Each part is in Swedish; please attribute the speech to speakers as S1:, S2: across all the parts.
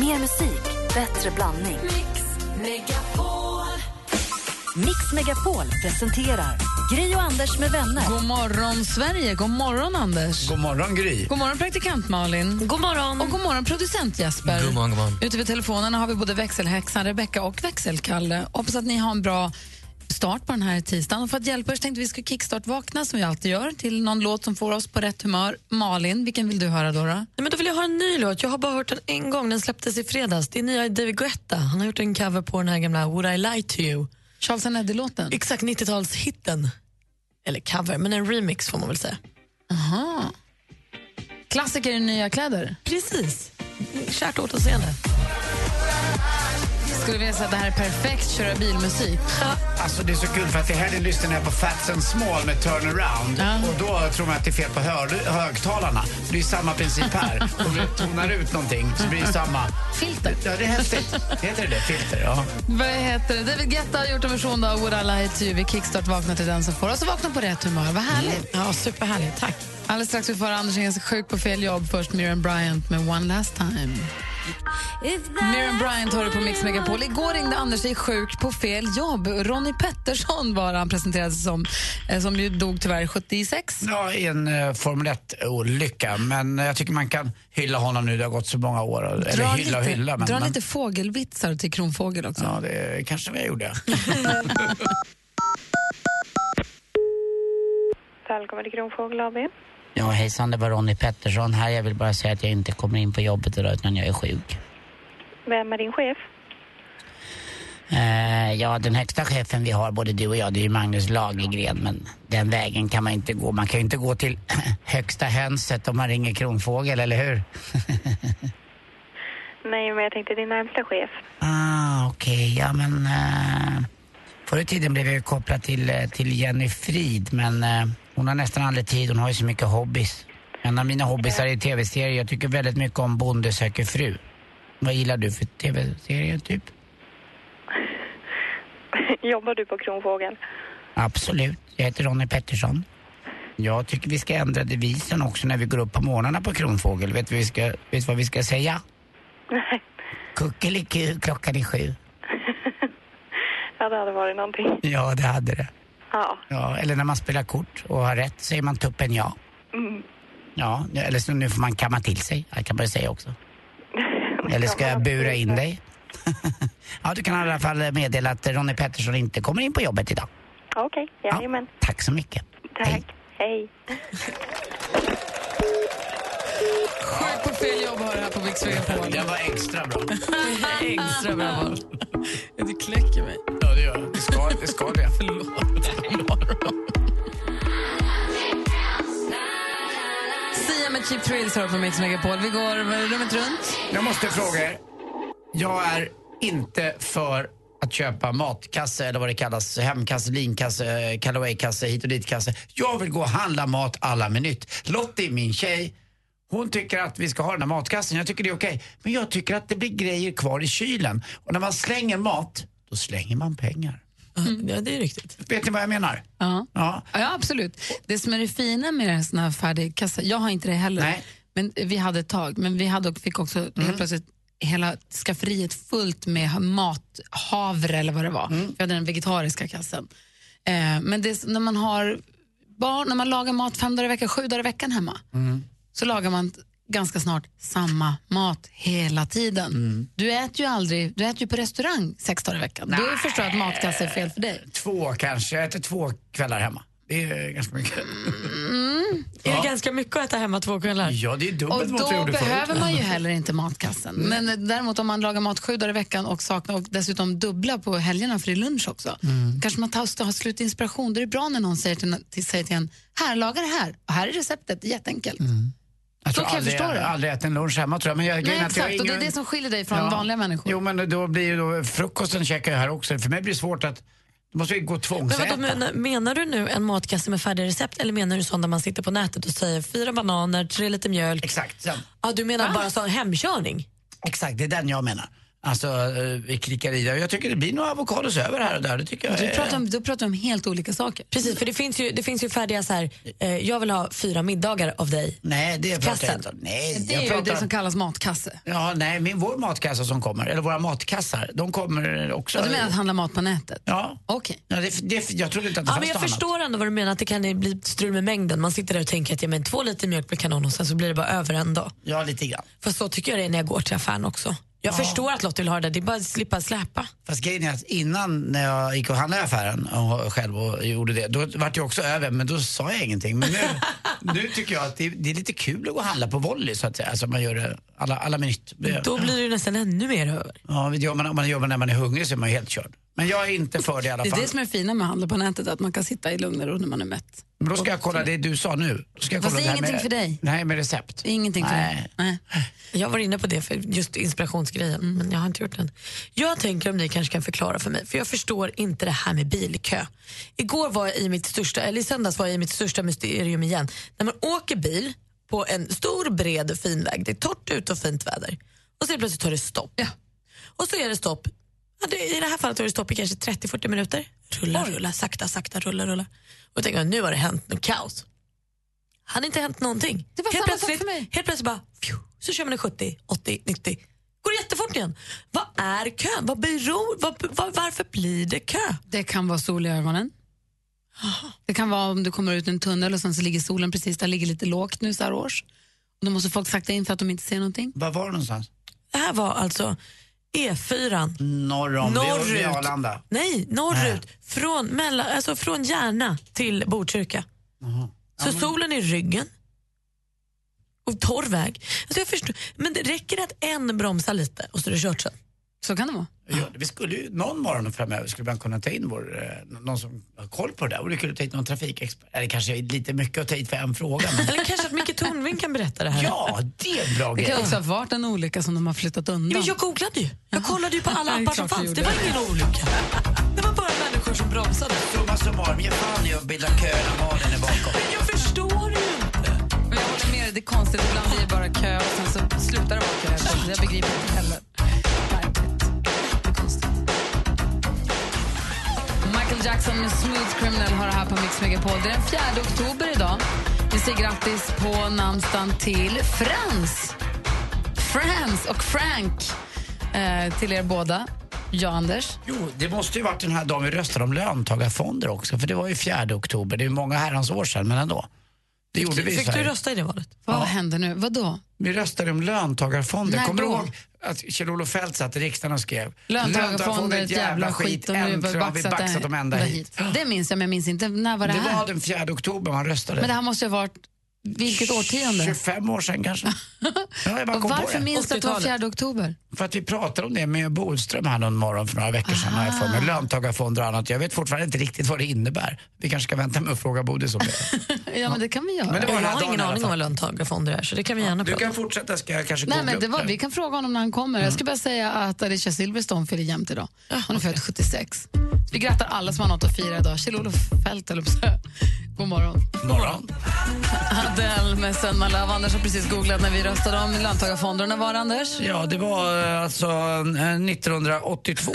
S1: Mer musik, bättre blandning.
S2: Mix Megapol.
S1: Mix Megapol presenterar Gri och Anders med vänner.
S3: God morgon, Sverige. God morgon, Anders.
S4: God morgon, Gry.
S3: God morgon, praktikant Malin.
S1: God morgon.
S3: Och god morgon, producent Jesper.
S5: God morgon, god morgon.
S3: Ute vid telefonerna har vi både växelhäxan Rebecka och växelkalle. Hoppas att ni har en bra start på den här tisdagen. Och för att hjälpa er så tänkte vi ska kickstart-vakna som vi alltid gör till någon låt som får oss på rätt humör. Malin, vilken vill du höra då? då?
S2: Nej, men då vill jag ha en ny låt. Jag har bara hört den en gång. Den släpptes i fredags. Det är nya David Guetta. Han har gjort en cover på den här gamla Would I Lie To You.
S3: Charles and Eddie-låten?
S2: Exakt 90-talshitten. Eller cover, men en remix får man väl säga.
S3: Aha. Klassiker i nya kläder?
S2: Precis. Kärt återseende.
S3: Skulle vilja säga att det här är perfekt köra bilmusik.
S4: Alltså, det är så kul för att i helgen lyssnade jag på Fats and Small med Turnaround
S3: Ja.
S4: och då tror man att det är fel på hör- högtalarna. Det är ju samma princip här. Om du tonar ut någonting så blir det samma.
S3: Filter.
S4: Ja, det är häftigt. Heter det det? Filter? Ja.
S3: Vad heter det? David Guetta har gjort en version av Would I Lie To You. Vi kickstart vaknar till den som får oss att vakna på rätt humör. Vad härligt.
S2: Mm. Ja, superhärligt. Tack.
S3: Alldeles strax vi får Anders Engels sjuk på fel jobb. Först Miriam Bryant med One Last Time. Miriam Bryant hör du på Mix Megapol. Igår ringde Anders sig sjuk på fel jobb. Ronnie Pettersson var det han presenterades som, eh, som ju dog tyvärr 76.
S4: ja, i en eh, Formel 1-olycka. Men eh, jag tycker man kan hylla honom nu. Det har gått så många år. Eller
S3: Dra
S4: hylla och
S3: lite,
S4: hylla. Men,
S3: dra
S4: men,
S3: lite fågelvitsar till Kronfågel också.
S4: Ja, det kanske jag gjorde.
S6: Välkommen till Kronfågel AB.
S7: Ja, hejsan, det var Ronny Pettersson här. Jag vill bara säga att jag inte kommer in på jobbet idag utan jag är sjuk.
S6: Vem är din chef?
S7: Eh, ja, den högsta chefen vi har, både du och jag, det är ju Magnus Lagergren, men den vägen kan man inte gå. Man kan ju inte gå till högsta hönset om man ringer Kronfågel, eller hur?
S6: Nej, men jag tänkte din närmsta chef.
S7: Ah, okej. Ja, men... Eh, förr i tiden blev jag ju kopplad till, eh, till Jenny Frid, men eh, hon har nästan aldrig tid. Hon har ju så mycket hobbys. En av mina hobbysar är tv-serier. Jag tycker väldigt mycket om Bonde söker fru. Vad gillar du för tv-serier, typ?
S6: Jobbar du på Kronfågel?
S7: Absolut. Jag heter Ronny Pettersson. Jag tycker vi ska ändra devisen också när vi går upp på morgnarna på Kronfågel. Vet du vi ska, vet du vad vi ska säga?
S6: Nej.
S7: Kuckeliku, klockan är sju.
S6: ja, det hade varit någonting.
S7: Ja, det hade det.
S6: Ja.
S7: Ja, eller när man spelar kort och har rätt säger man tuppen ja. Ja, eller så nu får man kamma till sig. Det kan man ju säga också. Eller ska jag bura in dig? ja, du kan i alla fall meddela att Ronny Pettersson inte kommer in på jobbet idag.
S6: Okej, jajamän.
S7: Tack så mycket.
S6: Tack.
S7: Hej.
S6: Hej.
S3: Sjuk på fel jobb har du här på Mix Megapol.
S4: Den var extra bra.
S3: Extra bra val. Du kläcker mig.
S4: Ja, det gör jag. Det ska det. Ska det.
S3: Sia med Cheap Thrills hör på Mix Megapol. Vi går rummet runt.
S4: Jag måste fråga er. Jag är inte för att köpa matkasse eller vad det kallas, hemkasse, linkasse, eh, callawaykasse, hit och dit-kasse. Jag vill gå och handla mat alla minut. Lottie, min tjej, hon tycker att vi ska ha den här matkassen. Jag tycker det är okej. Men jag tycker att det blir grejer kvar i kylen. Och när man slänger mat, då slänger man pengar.
S3: Mm,
S2: Ja, det är riktigt.
S4: Vet ni vad jag menar?
S3: Ja.
S4: Ja.
S3: ja, absolut. Det som är det fina med såna här färdigkassar, jag har inte det heller,
S4: Nej. Mm.
S3: men vi hade ett tag, men vi hade, och fick också helt plötsligt hela skafferiet fullt med mathavre eller vad det var.
S4: Mm.
S3: Vi hade den vegetariska kassen. Eh, men det, är så- när man har barn, när man lagar mat fem dagar i veckan, sju dagar i veckan hemma, så lagar man ganska snart samma mat hela tiden.
S4: Mm.
S3: Du äter ju aldrig, du äter ju på restaurang sex dagar i veckan. Då förstår jag att matkasse är fel för dig.
S4: Två kanske. Jag äter två kvällar hemma. Det är ganska mycket.
S3: Mm.
S2: Är det ganska mycket att äta hemma två kvällar?
S4: Ja, det är
S3: Och
S4: dubbelt mot vad jag
S3: då
S4: gjorde förut.
S3: behöver man ju heller inte matkassen. Men eh, däremot om man lagar mat sju dagar i veckan och saknar och dessutom dubbla på helgerna för det är lunch också.
S4: Mm.
S3: Kanske man tar, har slut inspiration. Då är det bra när någon säger till, till, säger till en, här, laga det här. Och här är receptet, det är jätteenkelt.
S4: Jag
S3: Då
S4: tror
S3: kan jag
S4: aldrig,
S3: förstå det.
S4: aldrig ätit en lunch hemma tror jag. Men jag,
S3: Nej,
S4: Mm. grejen är att jag har
S3: exakt. Och det är
S4: ingen-
S3: det som skiljer dig från vanliga människor.
S4: Jo, men då blir ju då, frukosten käkar jag här också. För mig blir det svårt att, då måste vi gå och
S2: Men vadå,
S4: tvångsäta.
S2: menar, menar du nu en matkasse med färdiga recept eller menar du sån där man sitter på nätet och säger fyra bananer, tre liter mjölk?
S4: Exakt, sen.
S2: Ja, du menar bara sån hemkörning?
S4: exakt, det är den jag menar. Alltså eh, klickarida. Jag tycker det blir några avokados över här och där. Det tycker jag
S3: Du
S4: är-
S3: pratar om, då pratar vi om helt olika saker.
S2: Precis, för det finns ju, det finns ju färdiga så här, eh, jag vill ha fyra middagar av dig.
S4: Nej, det pratar
S2: Kassen.
S4: jag inte om. Nej,
S3: Det
S4: jag
S3: är ju
S4: pratar
S3: det
S4: om-
S3: som kallas matkasse.
S4: Ja, nej, min, vår matkassa som kommer, eller våra matkassar, de kommer också.
S3: Ja, Du menar att handla mat på nätet?
S4: Ja.
S3: Okej.
S4: ja det, det, jag trodde inte att det
S2: Ja,
S4: fanns
S2: men jag
S4: något annat.
S2: förstår ändå vad du menar, att det kan bli strul med mängden. Man sitter där och tänker att ja, men två liter mjölk blir kanon och sen så blir det bara över en dag.
S4: Ja, lite grann.
S2: För så tycker jag det är när jag går till affären också. Jag förstår att Lotta vill ha det, det är bara att slippa släpa.
S4: Fast grejen är att innan när jag gick och handlade i affären och själv och gjorde det, då vart jag också över, men då sa jag ingenting. Men nu, nu tycker jag att det, det är lite kul att gå och handla på volley så att säga. Alltså man gör det alla, alla minuter.
S2: Då blir det ju nästan ännu mer över.
S4: Ja, det gör man, om man gör man när man är hungrig så är man ju helt körd. Men jag är inte för det i alla
S3: Det
S4: fall.
S3: är det som är fina med att handla på nätet, att man kan sitta i lugn och ro när man är mätt.
S4: Men då ska jag kolla det du sa nu. Då ska jag
S3: Fast
S4: kolla
S3: det är
S4: här
S3: ingenting
S4: med,
S3: för dig.
S4: Nej, med recept.
S3: Det är Ingenting för
S4: Nej.
S3: dig. Nej.
S2: Jag var inne på det för just inspirationsgrejen, men jag har inte gjort den. Jag tänker om ni kanske kan förklara för mig, för jag förstår inte det här med bilkö. Igår var jag i mitt största, eller i söndags var jag i mitt största mysterium igen. När man åker bil på en stor, bred, fin väg, det är torrt ute och fint väder. Och så plötsligt tar det stopp. Och så är det stopp. Ja, det, I det här fallet tar det stopp i kanske 30-40 minuter. Rulla, rulla, sakta, sakta, rulla, rulla. Och jag tänker nu har det hänt något kaos. Han inte hänt någonting.
S3: Det var
S2: helt,
S3: samma sak
S2: plötsligt,
S3: för mig.
S2: helt plötsligt bara, pju, så kör man i 70, 80, 90. Går det jättefort igen. Vad är kön? Vad beror, vad, vad, varför blir det kö?
S3: Det kan vara sol i ögonen. Det kan vara om du kommer ut ur en tunnel och sen så ligger solen precis där, ligger lite lågt nu så här års. Och då måste folk sakta in för att de inte ser någonting.
S4: Var var du någonstans?
S2: Det här var alltså E4.
S4: Norr om Norrut. vid
S2: Norrut.
S4: Arlanda.
S2: Nej, norrut. Från, mellan, alltså från Järna till Botkyrka. Så solen i ryggen. Och torr väg. Alltså jag förstår, men det räcker att en bromsar lite och så är det kört sen.
S3: Så kan det vara.
S4: Ja, vi skulle ju, någon morgon framöver skulle man kunna ta in vår, eh, någon som har koll på det där. Och det kunde ta hit någon trafikexpert. Eller kanske är lite mycket att ta hit för en fråga. Men
S2: Eller kanske att Micke Tornving kan berätta det här.
S4: ja, det är en bra
S3: Det
S4: grej.
S3: kan också ha varit en olycka som de har flyttat
S2: Ja,
S3: undan.
S2: men jag googlade ju. Jag kollade ju på alla
S3: Ja, det är
S2: appar som
S3: klart du
S2: fanns. Det var
S3: gjorde.
S2: ingen olycka. Det var bara människor som bromsade.
S4: Summa summarum, ge fan i att bilda kö när Malin är bakom.
S2: Men jag förstår ju inte.
S3: Men jag håller med dig, det är konstigt. Ibland blir det bara kö och sen så slutar det vara kö. Så Jag begriper inte heller. Märkligt. Det är konstigt. Michael Jackson med Smooth Criminal har det här på Mix Megapol. Det är den 4 oktober idag. Vi säger grattis på namnsdagen till Frans. Frans och Frank. Eh, till er båda. Jag, Anders.
S4: Jo, det måste ju varit den här dagen vi röstade om löntagarfonder också. För det var ju 4 oktober. Det är ju många herrans år sedan, men ändå. Det gjorde vi i
S2: Fick du
S4: Sverige.
S2: rösta i det valet?
S3: Vad händer nu? Vadå?
S4: Vi röstade om löntagarfonder.
S3: När
S4: Kommer du
S3: då?
S4: ihåg att Kjell-Olof Feldt satt i riksdagen och skrev
S3: Löntagarfonder, är ett jävla skit.
S4: Äntligen har vi
S3: baxat
S4: baxat dem ända hit.
S3: Det minns jag, men jag minns inte. När var det,
S4: Det
S3: här?
S4: var den 4 oktober man röstade.
S3: Men det här måste ju ha varit vilket årtionde?
S4: 25 år sedan kanske. Ja, jag bara
S3: Och
S4: kom på
S3: varför
S4: det.
S3: minns du att det var 4 oktober?
S4: För att vi pratade om det med Bodström här någon morgon för några veckor sedan. Har jag för
S3: Ah.
S4: mig. Löntagarfonder och annat. Jag vet fortfarande inte riktigt vad det innebär. Vi kanske ska vänta med att fråga Bodis om det.
S3: Ja, men det kan vi göra.
S4: Men det var
S2: Jag
S4: den här
S2: har
S4: dagen
S2: ingen
S4: i alla
S2: aning om
S4: fall.
S2: vad löntagarfonder är, så det kan vi gärna
S4: Du
S2: prata
S4: kan
S2: om.
S4: fortsätta, ska jag kanske
S3: Nej,
S4: googla
S3: men det
S4: upp
S3: var, vi kan fråga honom när han kommer. Jag ska bara säga att Alicia Silverstone fyller jämnt idag.
S4: Ah,
S3: Hon är född 76. Så vi grattar alla som har något att fira idag. Kjell-Olof Feldt, eller så. God morgon.
S4: Morgon.
S3: Adele med Selma Lav. Anders har precis googlat när vi röstade om löntagarfonderna. Var det, Anders?
S4: Ja, det var eh, alltså eh, 1982.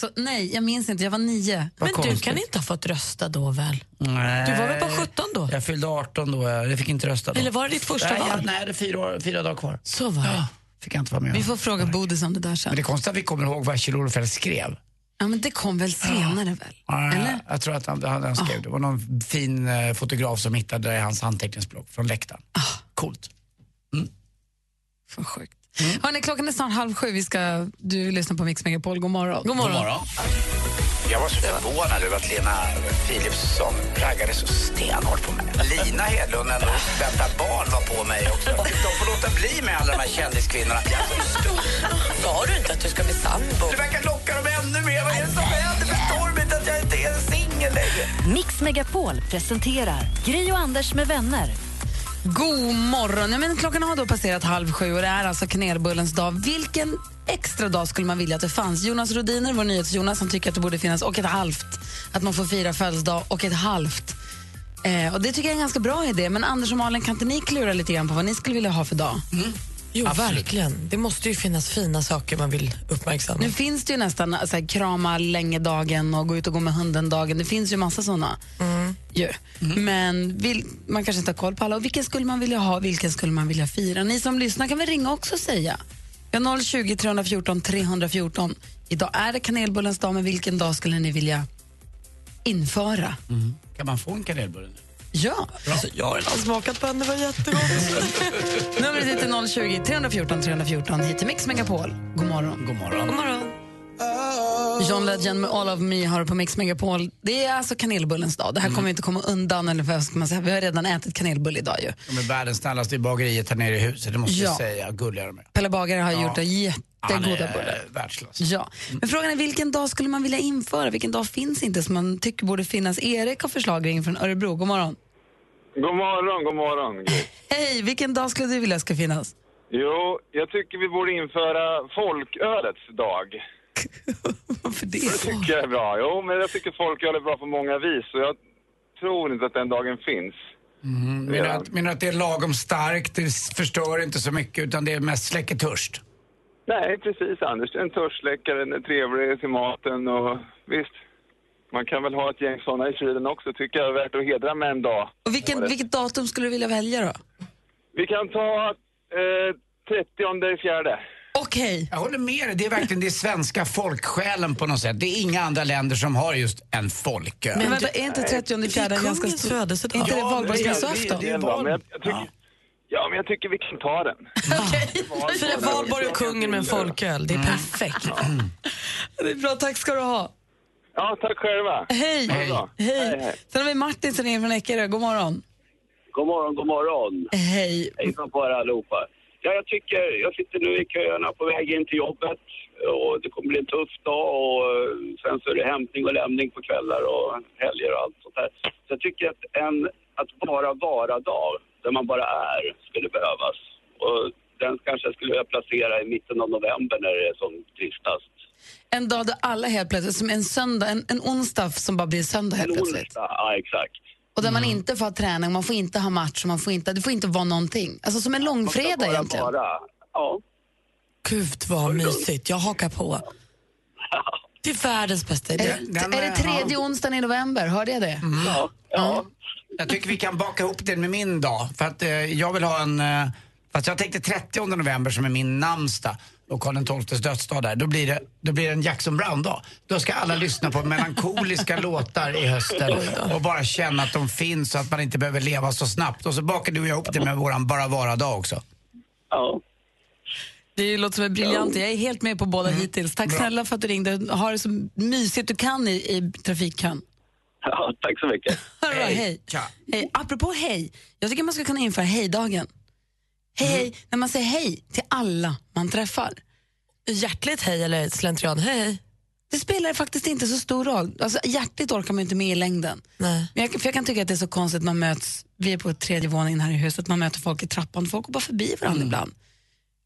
S3: Så, nej, jag minns inte. Jag var nio.
S4: Vad
S2: Men
S4: konstigt.
S2: du kan inte ha fått rösta då väl?
S4: Nej.
S2: Du var väl bara 17 då?
S4: Jag fyllde 18 då, jag fick inte rösta då.
S2: Eller var det ditt första
S4: nej, jag-
S2: val?
S4: Nej, jag hade fyra, år, fyra dagar kvar.
S2: Så var det.
S4: Fick jag inte vara med
S3: Vi
S4: om.
S3: får fråga Bodis om det där
S4: Men
S3: sen.
S4: det är konstigt att vi kommer ihåg vad Kjell-Olof Feldt skrev.
S3: Ja, men det kom väl senare, väl?
S4: Ja,
S3: Eller?
S4: Jag tror att han, han, han
S2: Ah.
S4: skrev det. var någon fin eh, fotograf som hittade det i hans anteckningsblock från läktaren.
S2: Ah.
S4: Coolt.
S3: För sjukt. Hörrni, klockan är snart halv sju. Vi ska, du lyssnar på Mix Megapol. God morgon. God morgon.
S5: Jag var så förvånad över att Lena Philipsson raggade så stenhårt på mig. Lina Hedlund, ändå väntar barn, var på mig också. De får låta bli med alla de här kändiskvinnorna.
S2: Sa du inte att du ska bli sambo?
S5: Du verkar locka dem ännu mer. Vad är det som händer? Förstår de inte att jag inte är singel längre?
S1: Mix Megapol presenterar Gri och Anders med vänner.
S3: God morgon. Ja, men klockan har då passerat halv sju och det är alltså kanelbullens dag. Vilken extra dag skulle man vilja att det fanns? Jonas Rodiner, vår nyhets-Jonas, han tycker att det borde finnas och ett halvt. Att man får fira födelsedag och ett halvt. Eh, och Det tycker jag är en ganska bra idé. Men Anders och Malin, kan inte ni klura lite grann på vad ni skulle vilja ha för dag?
S2: Jo,
S4: Absolut.
S2: verkligen. Det måste ju finnas fina saker man vill uppmärksamma.
S3: Nu finns det ju nästan eh, så här, krama länge-dagen och gå ut och gå med hunden-dagen. Det finns ju massa såna. Ju. Men vill, man kanske inte har koll på alla. Och vilken skulle man vilja ha vilken skulle man vilja fira? Ni som lyssnar kan väl ringa också och säga. Vi har 020 314 314. Idag är det kanelbullens dag, men vilken dag skulle ni vilja införa?
S4: Mm. Kan man få en kanelbulle nu?
S3: Ja.
S2: Alltså, jag har redan smakat på den, det var jättegott.
S3: Numret hit är 020 314 314 hit till Mix Megapol. God morgon.
S4: God morgon.
S2: God morgon.
S3: John Legend med All of me har på Mix Megapol. Det är alltså kanelbullens dag.
S4: Mm.
S3: Det här kommer vi inte komma undan. Eller vad ska man säga? Vi har redan ätit kanelbulle idag ju.
S4: De är världens snällaste i bageriet här nere i huset, det måste
S3: Ja.
S4: jag säga. Gulliga de är.
S3: Pelle Bagare har
S4: Ja.
S3: gjort
S4: Han
S3: jättegoda bullar.
S4: är Mm. världsklass.
S3: Ja. Men frågan är vilken dag skulle man vilja införa? Vilken dag finns inte som man tycker borde finnas? Erik har förslag ring från Örebro. God morgon.
S8: God morgon, god morgon. Gry.
S3: Hej, vilken dag skulle du vilja ska finnas?
S8: Jo, jag tycker vi borde införa folkölets dag.
S3: Varför det?
S8: Tycker jag är bra. Jo, men jag tycker folköl är bra på många vis så jag tror inte att den dagen finns.
S4: Mm-hmm. Menar du att, menar du att det är lagom starkt, det s- förstör inte så mycket utan det är mest släcker törst?
S8: Nej, precis Anders. En törstsläckare, den är trevlig till maten och visst. Man kan väl ha ett gäng sådana i kylen också, tycker jag är värt att hedra med en dag.
S3: Och vilken, vilket datum skulle du vilja välja då?
S8: Vi kan ta eh, 30 fjärde.
S3: Okej.
S4: Jag håller med dig, det är verkligen det är svenska folksjälen på något sätt. Det är inga andra länder som har just en folköl.
S3: Men vänta, är inte 30
S2: Det är
S3: fjärde en ganska
S2: kungens
S3: stor...
S2: födelsedag.
S3: Inte det
S2: Ja,
S3: valborgsmässoafton?
S4: det är
S8: en dag, men jag,
S4: val.
S8: jag tycker, ja, men jag tycker vi kan ta den.
S2: Fira valborg och kungen med en folköl. Det är perfekt.
S3: Det är bra, tack ska du ha.
S8: Ja, tack själva.
S3: Hej!
S8: Ha det
S3: Hej.
S8: bra.
S3: Sen har vi Martin som ringer från Eckerö. God morgon.
S9: God morgon, god morgon.
S3: Hej.
S9: Hejsan på er allihopa. Ja, jag tycker, jag sitter nu i köerna på väg in till jobbet och det kommer bli en tuff dag och eh, sen så är det hämtning och lämning på kvällar och helger och allt sånt där. Så jag tycker att en att bara vara-dag, där man bara är, skulle behövas. Och den kanske skulle jag placera i mitten av november när det är som tristast.
S3: En dag där alla helt plötsligt, som en söndag, en, en onsdag som bara blir en söndag helt
S9: En
S3: plötsligt.
S9: onsdag, ja exakt.
S3: Och där man inte får ha träning, man får inte ha match, och man får inte, det får inte vara någonting. Alltså som en
S9: Man ska
S3: långfredag
S9: bara
S3: egentligen.
S9: vara. Ja.
S2: Gud vad mysigt, jag hakar på. Det är världens bästa idé.
S3: Är,
S4: Den-
S3: är Mm. det tredje onsdagen i november? Hörde jag det?
S9: ja. ja.
S4: Mm. Jag tycker vi kan baka ihop den med min dag. För att eh, jag vill ha en... Eh, fast jag tänkte 30 november som är min namnsdag och Karl XIIs dödsdag där. Då blir, det, då blir det en Jackson Brown-dag. Då ska alla lyssna på melankoliska låtar i hösten och bara känna att de finns så att man inte behöver leva så snabbt. Och så bakar du och jag ihop det med våran bara vara-dag också.
S9: ja.
S3: Det låter som en briljant Jag är helt med på båda hittills. Tack snälla för att du ringde. Ha det så mysigt du kan i, i trafikkön.
S9: ja tack så mycket.
S3: Hej. Bra, hej.
S4: Tja.
S3: hej. Eh, Apropå hej, jag tycker man ska kunna införa hejdagen. Hej,
S2: Mm.
S3: hej, när man säger hej till alla man träffar.
S2: Hjärtligt hej eller slentrian hej.
S3: Det spelar faktiskt inte så stor roll. Alltså, hjärtligt orkar man inte med i längden.
S2: Nej.
S3: Men jag, för jag kan tycka att det är så konstigt att man möts, vi är på tredje våningen här i huset, man möter folk i trappan, folk går bara förbi
S2: Mm.
S3: varandra ibland.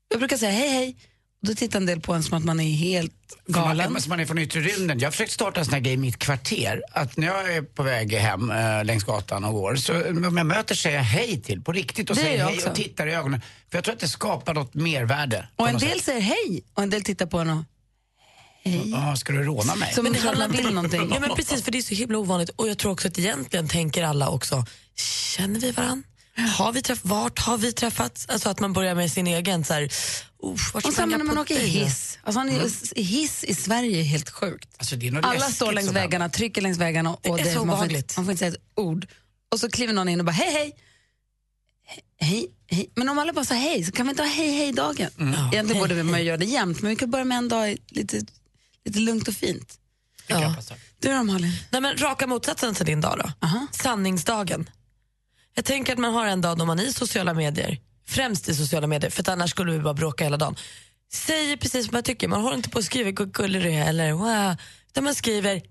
S3: Jag brukar säga hej hej, och då tittar en del på en som att man är helt
S4: Som
S3: galen.
S4: man, som man är från yttre rymden. Jag har försökt starta en sån här grej i mitt kvarter. Att när jag är på väg hem eh, längs gatan och går, så eh, om jag möter säger jag hej till på riktigt och
S3: Det gör
S4: säger
S3: jag
S4: hej
S3: också.
S4: och tittar i ögonen. För jag tror att det skapar något mervärde. på
S3: Och en
S4: något
S3: del
S4: sätt.
S3: säger hej och en del tittar på en och
S4: Ja, ska du råna mig?
S3: som om
S2: handlar
S3: man
S2: inte-
S3: vill någonting.
S2: Ja, men precis, för det är så himla ovanligt. Och jag tror också att egentligen tänker alla också, känner vi varann? Har vi träff- vart har vi träffats? Alltså att man börjar med sin egen så här, "Uff, vart
S3: Och
S2: sprang
S3: samma
S2: jag
S3: när
S2: på Mm.
S3: man åker
S2: dig?"
S3: hiss. Alltså, han är, Hiss i Sverige är helt sjukt.
S4: Alltså, det är något
S3: Alla
S4: läskigt
S3: står längs
S4: som händer.
S3: väggarna, trycker längs väggarna och
S2: Det är så
S3: man, får inte,
S2: obehagligt.
S3: man får inte säga ett ord. Och så kliver någon in och bara hej hej. Hej, hej. Men om alla bara sa hej så kan vi inte ha hej hej-dagen.
S2: Mm.
S3: Egentligen
S2: Hej,
S3: borde vi
S2: hej.
S3: man göra det jämt men vi kan börja med en dag i- lite, lite lugnt och fint.
S2: Ja.
S3: Du då Malin?
S2: Nej, men raka motsatsen till din dag då.
S3: Aha.
S2: Sanningsdagen. Jag tänker att man har en dag då man i sociala medier, främst i sociala medier, för att annars skulle vi bara bråka hela dagen, säger precis vad man tycker. Man håller inte på och skriver "Gu- gullig du är" eller wow, utan man skriver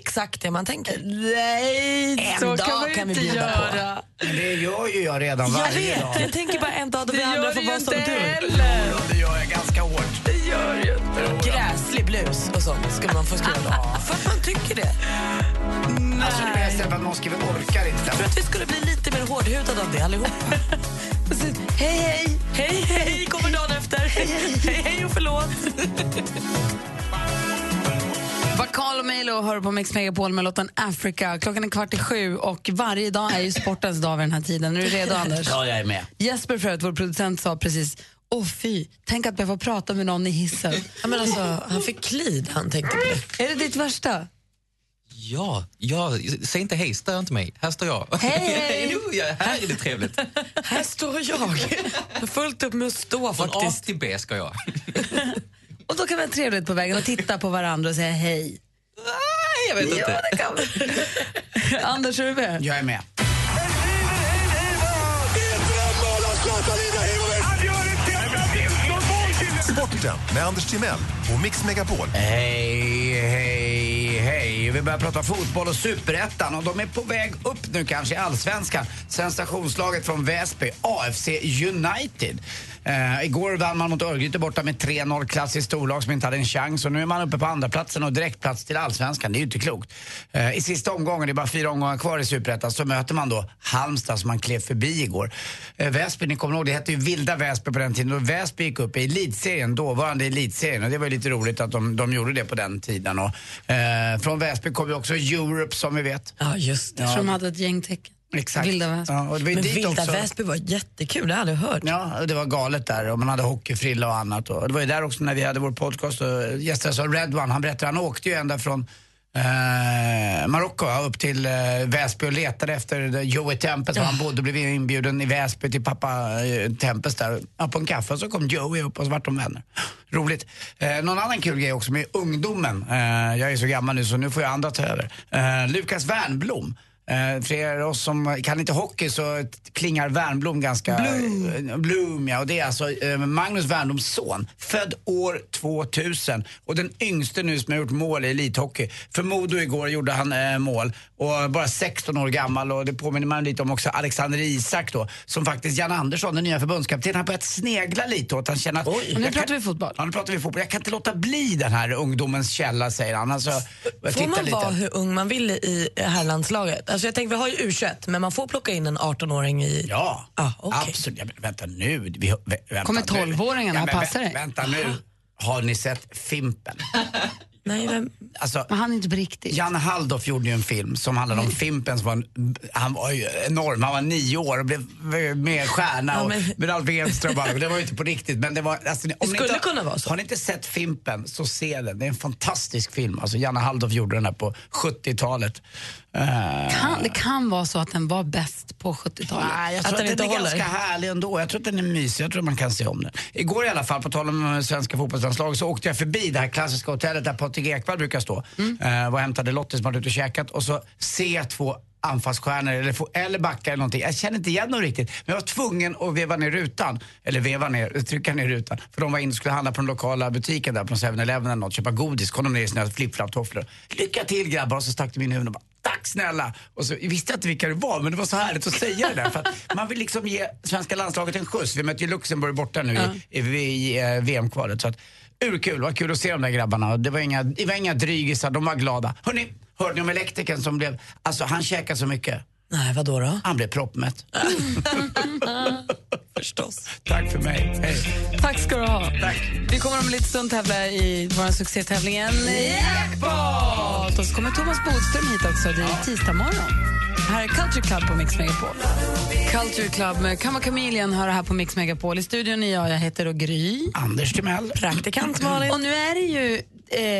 S2: exakt det man tänker.
S3: Nej,
S2: En dag kan vi bjuda på.
S4: Men det gör ju jag redan
S2: Jag
S4: varje dag.
S2: vet, jag tänker bara en dag då vi andra
S3: gör
S2: får
S3: det
S2: vara
S3: ju
S2: som
S3: inte
S2: du.
S3: heller.
S4: Det gör jag ganska hårt.
S2: Gräslig blus och sånt skulle man få skriva då. För att man tycker det.
S4: Alltså, det bästa är att man skriver orkar inte.
S2: Jag tror att vi skulle bli lite mer hårdhudade av det allihopa. Och så, hej, hej. Hej, hej, kommer dagen efter. Hej, hej och förlåt.
S3: Vakal och Milo hör på Mix Megapol med låten Africa. Klockan är kvart i sju och varje dag är ju sportens dag vid den här tiden. Är du redo, Anders?
S4: Ja, jag är med.
S3: Jesper Fröet, vår producent, sa precis Åh fy, tänk att behöva prata med någon i hissen.
S2: Ja, men alltså, han fick klid, han tänkte på det.
S3: Är det ditt värsta?
S10: Ja, ja, säg inte hej, stör inte mig. Här står jag.
S3: Hej, hej.
S10: Jo, ja, här är det trevligt.
S2: Här står jag. Jag har fullt upp med att stå
S10: Från A
S2: faktiskt.
S10: till B ska jag.
S3: Och då kan vi ha trevligt på vägen och titta på varandra och säga hej.
S10: Nej, jag vet inte.
S3: Anders, är du med?
S4: Jag är med.
S11: Sporten med Anders Timell och Mix Megapol.
S4: Hej, hej, hej. Vi börjar prata fotboll och superettan och de är på väg upp nu kanske i allsvenskan. Sensationslaget från Väsby, AFC United. Eh, igår vann man mot Örgryte borta med 3-0, klassiskt storlag som inte hade en chans. Och nu är man uppe på andra platsen och direktplats till allsvenskan. Det är ju inte klokt. Eh, I sista omgången, det är bara fyra omgångar kvar i superettan, så möter man då Halmstad som man klev förbi igår. Eh, Väsby, ni kommer ihåg, det hette ju Vilda Väsby på den tiden. Och Väsby gick upp i elitserien, dåvarande elitserien. Och det var ju lite roligt att de, de gjorde det på den tiden. Och, eh, från Väsby kom ju också Europe som vi vet.
S2: Ja, just det.
S3: Eftersom de hade ett gäng tecken.
S4: Exakt.
S3: Vilda Väsby.
S4: Ja, och det var ju
S2: Men
S4: dit
S2: Vilda
S4: också-
S2: Väsby var jättekul, det hade jag hört.
S4: Ja, och det var galet där och man hade hockeyfrilla och annat. Och det var ju där också när vi hade vår podcast och gästades av Red One. Han berättade han åkte ju ända från eh, Marocko ja, upp till eh, Väsby och letade efter det- Joey Tempest. Och Han bodde blev inbjuden i Väsby till pappa eh, Tempest där. Ja, på en kaffe och så kom Joey upp och så vart de vänner. Roligt. Eh, någon annan kul grej också med ungdomen. Eh, jag är så gammal nu så nu får jag andra ta över. Eh, Lukas Wernbloom. Eh, För er oss som kan inte hockey så klingar Wernbloom ganska... Bloom. Bloom ja, och det är alltså eh, Magnus Wernbloms son. Född år 2000 och den yngste nu som har gjort mål i elithockey. För Modo igår gjorde han eh, mål och bara 16 år gammal och det påminner man lite om också Alexander Isak då. Som faktiskt Jan Andersson, den nya förbundskaptenen, har börjat snegla lite åt. Han känner att...
S3: Och nu
S4: jag
S3: pratar
S4: kan-
S3: vi fotboll.
S4: Ja, nu pratar vi fotboll. Jag kan inte låta bli den här ungdomens källa, säger han. Alltså, jag
S2: Får
S4: tittar
S2: man
S4: lite.
S2: vara hur ung man vill i det här landslaget? Alltså jag tänker, vi har ju U21, men man får plocka in en 18-åring i...
S4: Ja,
S2: Ah, okej.
S4: absolut. Ja, men vänta nu. Vi, vä- vänta
S3: Kommer
S4: nu.
S3: 12-åringarna
S4: men vä-
S3: passa dig?
S4: Vänta nu. Har ni sett Fimpen?
S2: Nej, vem?
S4: Alltså,
S3: Men han är inte på riktigt.
S4: Jan Halldorf gjorde ju en film som handlade om Fimpen. Som var en, han var ju enorm. Han var nio år och blev eh, med stjärna.
S2: Ja,
S4: och
S2: men-
S4: med Alf Edström och alla. Det var ju inte på riktigt. Men det var, alltså, ni- om ni
S2: skulle
S4: inte,
S2: kunna vara så.
S4: Har ni inte sett Fimpen så se den. Det är en fantastisk film. Alltså, Janne Halldorf gjorde den här på 70-talet. Eh,
S3: Kan, det kan vara så att den var bäst på 70-talet.
S4: Nej, jag tror
S2: Att
S4: att
S2: den
S4: den,
S2: inte
S4: är
S2: håller.
S4: ganska härlig ändå. Jag tror att den är mysig. Jag tror man kan se om den. Igår i alla fall, på tal om eh, svenska fotbollslandslaget, så åkte jag förbi det här klassiska hotellet där Patrik Ekwall brukar stå. Eh, var och hämtade Lottie som hade varit ute och käkat och så ser jag två anfallsstjärnor eller, få- eller backar eller någonting. Jag känner inte igen dem riktigt. Men jag var tvungen att veva ner rutan. Eller veva ner, trycka ner rutan. För de var inne och skulle handla på den lokala butiken där på 7-Eleven eller något, köpa godis. Kom de ner i sina flip-flap-tofflor. Lycka till grabbar! Och så stack de in huvuden och bara Tack snälla! Och så visste jag inte vilka det var, men det var så härligt att säga det där. För att man vill liksom ge svenska landslaget en skjuts. Vi möter ju Luxemburg borta nu i, i, i eh, VM-kvalet. Så att, urkul, vad kul att se de där grabbarna. Det var inga, det var inga drygisar, de var glada. Hörni, hörde ni om elektrikern som blev... Alltså han käkade så mycket,
S2: Nej, vadå då?
S4: han blev proppmätt.
S2: Förstås.
S4: Tack för mig, hej.
S3: Tack ska du ha. Vi kommer om en liten stund tävla i vår succétävling Jackpot! Och så kommer Thomas Bodström hit också. Det är tisdag morgon. Här är Culture Club på Mix Megapol. Culture Club med Kamma Chameleon hör här på Mix Megapol. I studion är jag, jag heter då Gry.
S4: Anders Timell.
S2: Praktikant Malin.
S3: Och nu är det ju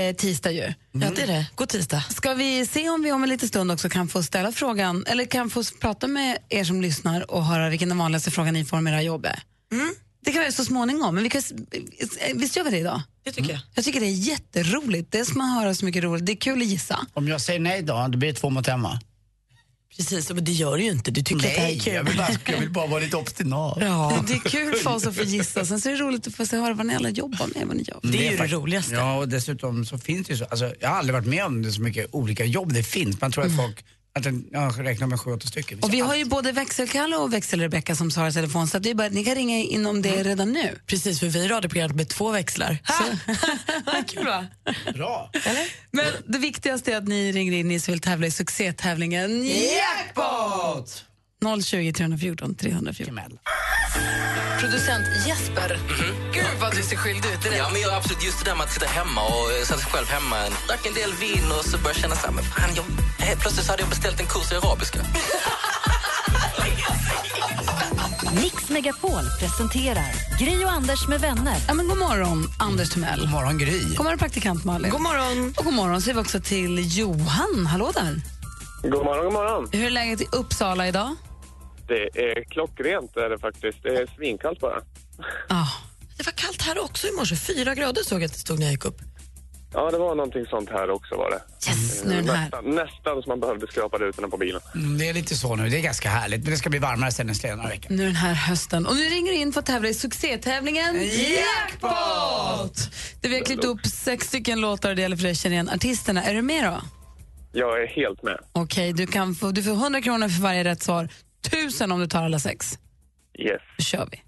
S3: eh, tisdag ju.
S2: Ja, det är det. God tisdag.
S3: Ska vi se om vi om en liten stund också kan få ställa frågan, eller kan få s- prata med er som lyssnar och höra vilken den vanligaste frågan ni får om era jobb är?
S2: Mm.
S3: Det kan vi göra så småningom, men vi kan, s- eh, visst gör vi det idag?
S2: Det tycker jag.
S3: Jag tycker det är jätteroligt. Det är som man höra så mycket roligt. Det är kul att gissa.
S4: Om jag säger nej då, det blir två mot en va?
S2: Precis, men det gör du ju inte. Du tycker att det här är
S4: jag
S2: kul.
S4: vill, bara, jag vill bara vara lite obstinat.
S2: Ja.
S3: Det är kul för oss att få gissa. Sen så är det roligt att få se höra vad ni alla jobbar med, vad ni gör.
S2: Det är ju det
S4: faktiskt-
S2: roligaste.
S4: Ja, och dessutom så finns det ju så, alltså, jag har aldrig varit med om det så mycket olika jobb det finns. Man tror att folk, att en, ja, räknar med sju, åtta stycken.
S3: Och vi har ju både växelkalle och växelrebecka som svarar i telefon, så att det är bara, ni kan ringa in om det redan nu.
S2: Precis, för vi är radioprogrammet med två växlar.
S3: Vad kul va?
S4: Bra!
S3: Men det viktigaste är att ni ringer in, ni som vill tävla i succétävlingen
S4: Jackpot!
S3: 020 314 314.
S4: Timell.
S12: Producent Jesper. Gud vad du ser skyldig ut direkt.
S13: Mhm. Ja, men jag, absolut, just det där med att sitta hemma och eh, satt själv hemma, drack en del vin och så började jag känna så här, men fan, jag, helt plötsligt så hade jag beställt en kurs i arabiska.
S1: Mix Megapol presenterar Gri och Anders med vänner.
S3: Ja, men god morgon, Anders Timell. God
S4: morgon, Gry.
S3: God morgon, praktikant Malin.
S2: God morgon.
S3: Och god morgon säger vi också till Johan. Hallå där.
S14: God morgon, god morgon.
S3: Hur är läget i Uppsala idag?
S14: Det är klockrent är det faktiskt. Det är svinkallt bara.
S2: Det var kallt här också i morse. Fyra grader såg jag att det stod när jag gick upp.
S14: Ja, det var någonting sånt här också var det.
S3: Yes,
S2: nu är den här.
S14: Nästan, nästan som man behövde skrapa rutorna på bilen.
S4: Mm, det är lite så nu. Det är ganska härligt. Men det ska bli varmare sen nästa några veckor.
S3: Nu den här hösten. Och nu ringer du in för att tävla i succétävlingen
S4: Jackpot!
S3: Där vi har klippt upp sex stycken låtar och det gäller för dig att känna igen artisterna. Är du med då?
S14: Jag är helt med.
S3: Okej, du kan få, du får 100 kronor för varje rätt svar. 1000 om du tar alla sex.
S14: Yes.
S3: Då kör vi.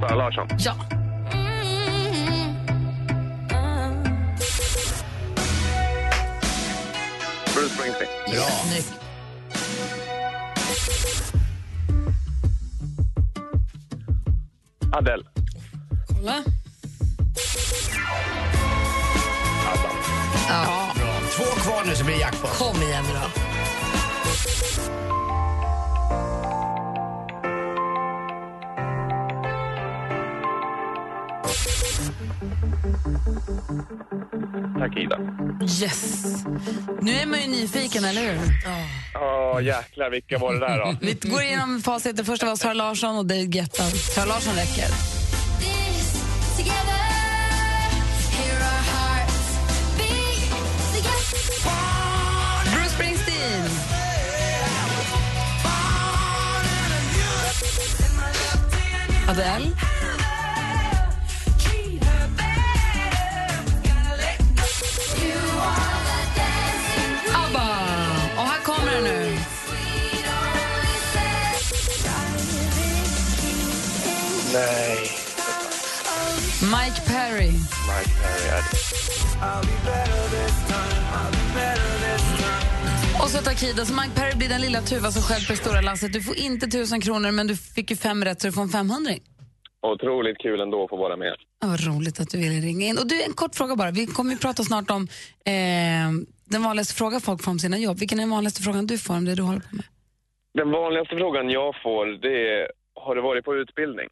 S14: Sara Larsson.
S3: Ja.
S14: Bruce Springsteen.
S4: Bra.
S14: Adele.
S3: Kolla.
S4: Ja. Bra. Två kvar nu så blir det jackpot.
S2: Kom igen nu då.
S14: Tack, Ida.
S3: Yes. Nu är man ju nyfiken, eller hur?
S14: Åh, jäklar vilka var det där då?
S3: Vi går igenom facit. Det första var Sara Larsson och Dave Guetta. Sara Larsson räcker. Bruce Springsteen. Adele. ABBA. Och här kommer den nu.
S14: Nej.
S3: Mike Perry.
S14: Mike Perry är
S3: Och så Takida. Så Mike Perry blir den lilla tuva som stjälper det stora lasset. Du får inte tusen kronor, men du fick ju fem rätt så du får en 500.
S14: Otroligt kul ändå att få vara med.
S3: Ja, Vad roligt att du ville ringa in. Och du, en kort fråga bara. Vi kommer ju prata snart om eh, den vanligaste frågan folk får om sina jobb. Vilken är den vanligaste frågan du får om det du håller på med?
S14: Den vanligaste frågan jag får det är, har du varit på utbildning?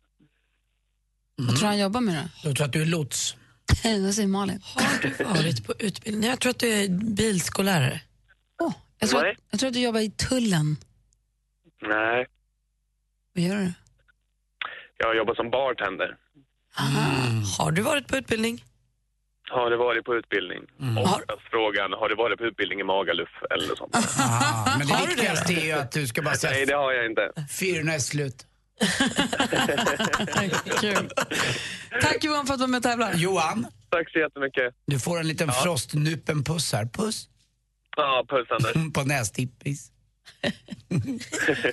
S3: Vad tror du han jobbar med då?
S4: Jag tror att du är lots.
S3: Vad säger Malin?
S2: Har du varit på utbildning? Jag tror att du är bilskollärare.
S3: Jag tror,
S14: Nej.
S3: att, jag tror att du jobbar i tullen.
S14: Nej,
S3: Vad gör du?
S14: jag jobbar som bartender.
S2: Har du varit på utbildning?
S14: Har du varit på utbildning? Oftast frågan, har du varit på utbildning i Magaluf eller sånt?
S4: Ja, men det viktigaste är ju att du ska bara
S14: Nej,
S4: säga
S14: det har jag inte.
S4: fyrorna är slut.
S3: Kul. Tack Johan för att du var med och tävlade.
S4: Johan,
S14: Tack så jättemycket.
S4: du får en liten frostnupen-puss här. Puss
S14: Ja, puss Anders.
S4: på nästippis.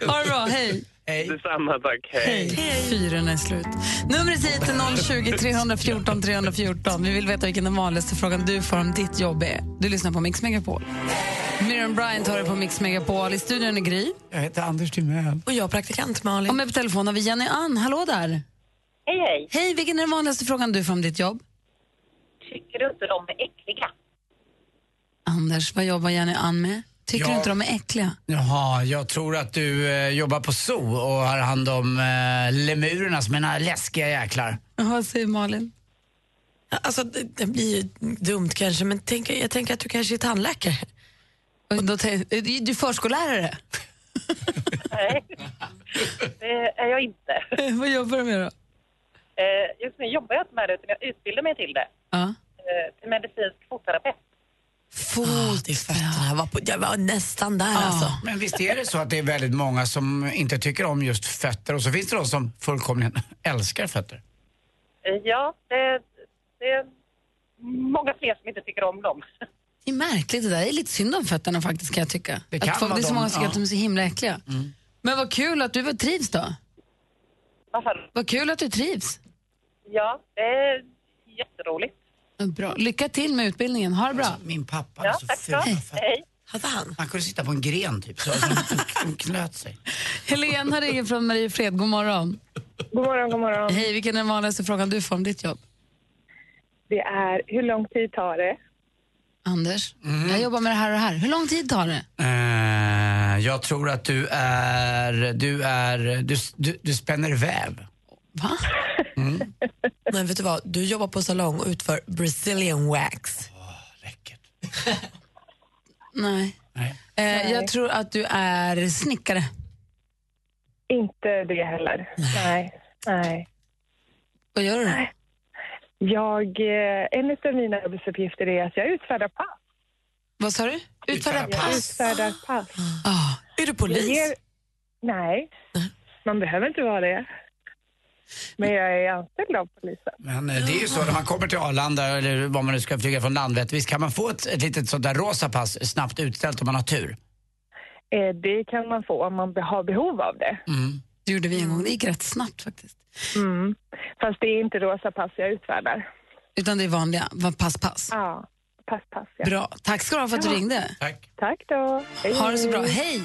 S3: Ha det bra, hej.
S14: Detsamma, tack. Hej.
S3: Fyren är slut. Numret hit är 020 314 314. Vi vill veta vilken den vanligaste frågan du får om ditt jobb är. Du lyssnar på Mix Megapol. Miriam Bryant har det på Mix Megapol. I studion är Gry.
S4: Jag heter Anders Timell.
S2: Och jag är praktikant Malin.
S3: Och med på telefon har vi Jenny Ann. Hallå där.
S15: Hej, hej.
S3: Hej, vilken är den vanligaste frågan du får om ditt jobb?
S15: Tycker du inte de är äckliga?
S3: Anders, vad jobbar Jenny Ann med? Tycker
S4: Ja.
S3: du inte de är äckliga?
S4: Jaha, jag tror att du eh, jobbar på zoo och har hand om eh, lemurerna som är några läskiga jäklar.
S3: Vad säger Malin?
S2: Alltså, det, det blir ju dumt kanske, men tänk, jag tänker att du kanske är tandläkare.
S3: Och Då tänk- är du förskollärare?
S15: Nej, det är jag inte.
S3: Vad jobbar du med då?
S15: Eh, Just nu jobbar jag inte med det, utan jag utbildar mig till det.
S3: Ja.
S15: Eh, Till medicinsk fotterapeut.
S3: Ah,
S2: Fot i fötterna. Jag var, på, jag var nästan där alltså.
S4: Men visst är det så att det är väldigt många som inte tycker om just fötter och så finns det de som fullkomligen älskar fötter.
S15: Eh, Ja, det, det är många fler som inte tycker om dem.
S3: Det är märkligt det där. Det är lite synd om fötterna faktiskt kan jag tycka.
S15: Det kan
S3: att folk,
S15: vara
S3: det är så
S15: de,
S3: många som tycker
S15: ja. Mm.
S3: att de är så himla äckliga. Men vad kul att du var- trivs då. Vad kul att du trivs.
S15: Ja, det är jätteroligt.
S3: Bra. Lycka till med utbildningen. Ha det bra.
S4: Min pappa
S15: Ja, tack så. Hej.
S2: Hade han?
S4: Han kunde sitta på en gren typ, så de, de knöt sig.
S3: Helene här ringer från Mariefred. God morgon.
S15: God morgon, god morgon.
S3: Hej, vilken är den vanligaste frågan du får om ditt jobb?
S15: Det är, hur lång tid tar det?
S3: Anders,
S2: Mm.
S3: jag jobbar med det här och det här. Hur lång tid tar det?
S4: Eh, jag tror att du är... Du är... Du, du, du spänner väv.
S2: Men vet du vad, du jobbar på salong och utför Brazilian wax.
S3: Nej. Eh, jag tror att du är snickare.
S15: Inte det heller. Nej. Nej.
S3: Vad gör du då?
S15: Jag, eh, en av mina arbetsuppgifter är att jag utfärdar pass.
S3: Vad sa du? Utfärdar
S15: Jag
S3: pass?
S15: utfärdar pass.
S3: Ah,
S2: Är du
S15: Jag ger- Nej, man behöver inte vara det. Men jag är anställd av polisen.
S4: Men eh, det är ju så när man kommer till Arlanda eller vad man nu ska flyga från Landvetter. Visst kan man få ett, ett litet sånt där rosa pass snabbt utställt om man har tur?
S15: Eh, Det kan man få om man be- har behov av det.
S4: Mm.
S3: Det gjorde vi en gång. Det gick rätt snabbt faktiskt.
S15: Mm. Fast det är inte rosa pass jag utfärdar.
S3: Utan det är vanliga. Vad- Pass, pass.
S15: Ja, pass, pass. Ja.
S3: Bra. Tack ska du ha för att
S15: Ja.
S3: du ringde.
S4: Tack.
S15: Tack då. Hej.
S3: Ha det så bra. Hej!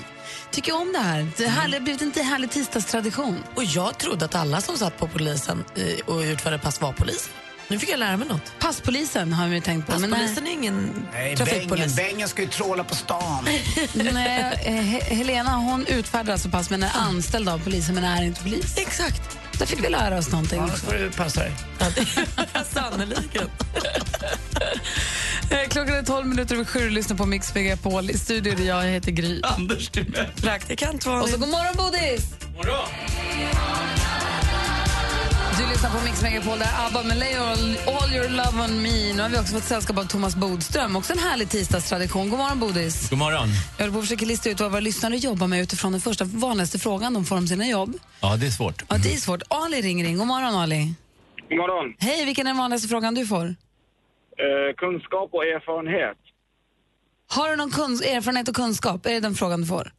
S3: Tycker om det här. Det här har blivit en till härlig tisdagstradition.
S2: Och jag trodde att alla som satt på polisen eh, och utförde pass var polis. Nu fick jag lära mig något.
S3: Passpolisen har vi tänkt på. men nej.
S2: Passpolisen är ingen
S4: Nej,
S2: trafikpolis.
S4: Bengen, Bengen ska ju tråla på stan.
S3: Nej, eh, He- Helena hon utfärdar alltså pass men är anställd av polisen men är inte polis.
S2: Exakt.
S3: Där fick vi lära oss någonting
S4: Annars
S3: också.
S4: får du passa dig.
S2: Sannerligen.
S3: Eh, Klockan är 12 minuter över sju och lyssnar på Mix Megapol. I studion är det jag, jag heter Gry.
S4: Anders Timell.
S2: Praktikant var
S3: Och så god morgon Bodis! Du lyssnar på Mix Megapol där ABBA med Lay all, all your love on me. Nu har vi också fått sällskap av Thomas Bodström, också en härlig tisdagstradition. God morgon Bodis!
S16: God morgon.
S3: Jag håller på att försöka lista ut vad våra lyssnare jobbar med utifrån den första vanligaste frågan de får om sina jobb.
S16: Ja, det är svårt.
S3: Ja, det är svårt. Ali ringer in. God morgon Ali!
S17: God morgon.
S3: Hej, vilken är den vanligaste frågan du får?
S17: Eh, kunskap och erfarenhet.
S3: Har du någon kunsk- erfarenhet och kunskap? Är det den frågan du får?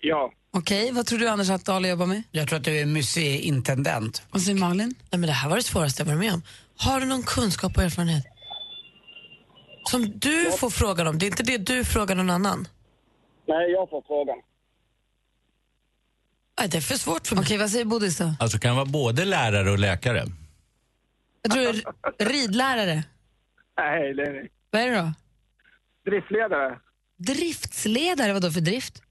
S17: Ja.
S3: Okej, vad tror du Anders att Ali jobbar med?
S4: Jag tror att du är museiintendent.
S3: Och sen Malin?
S2: Nej, men det här var det svåraste jag varit med om. Har du någon kunskap och erfarenhet? Som du får frågan om. Det är inte det du frågar någon annan.
S17: Nej, jag får frågan.
S2: Nej, det är för svårt för mig.
S3: Okej, vad säger Bodis då?
S16: Alltså kan vara både lärare och läkare.
S3: Jag tror du är ridlärare.
S17: Nej, det är ni.
S3: Vad är det då?
S17: Driftledare
S3: Driftsledare, vad då för drift?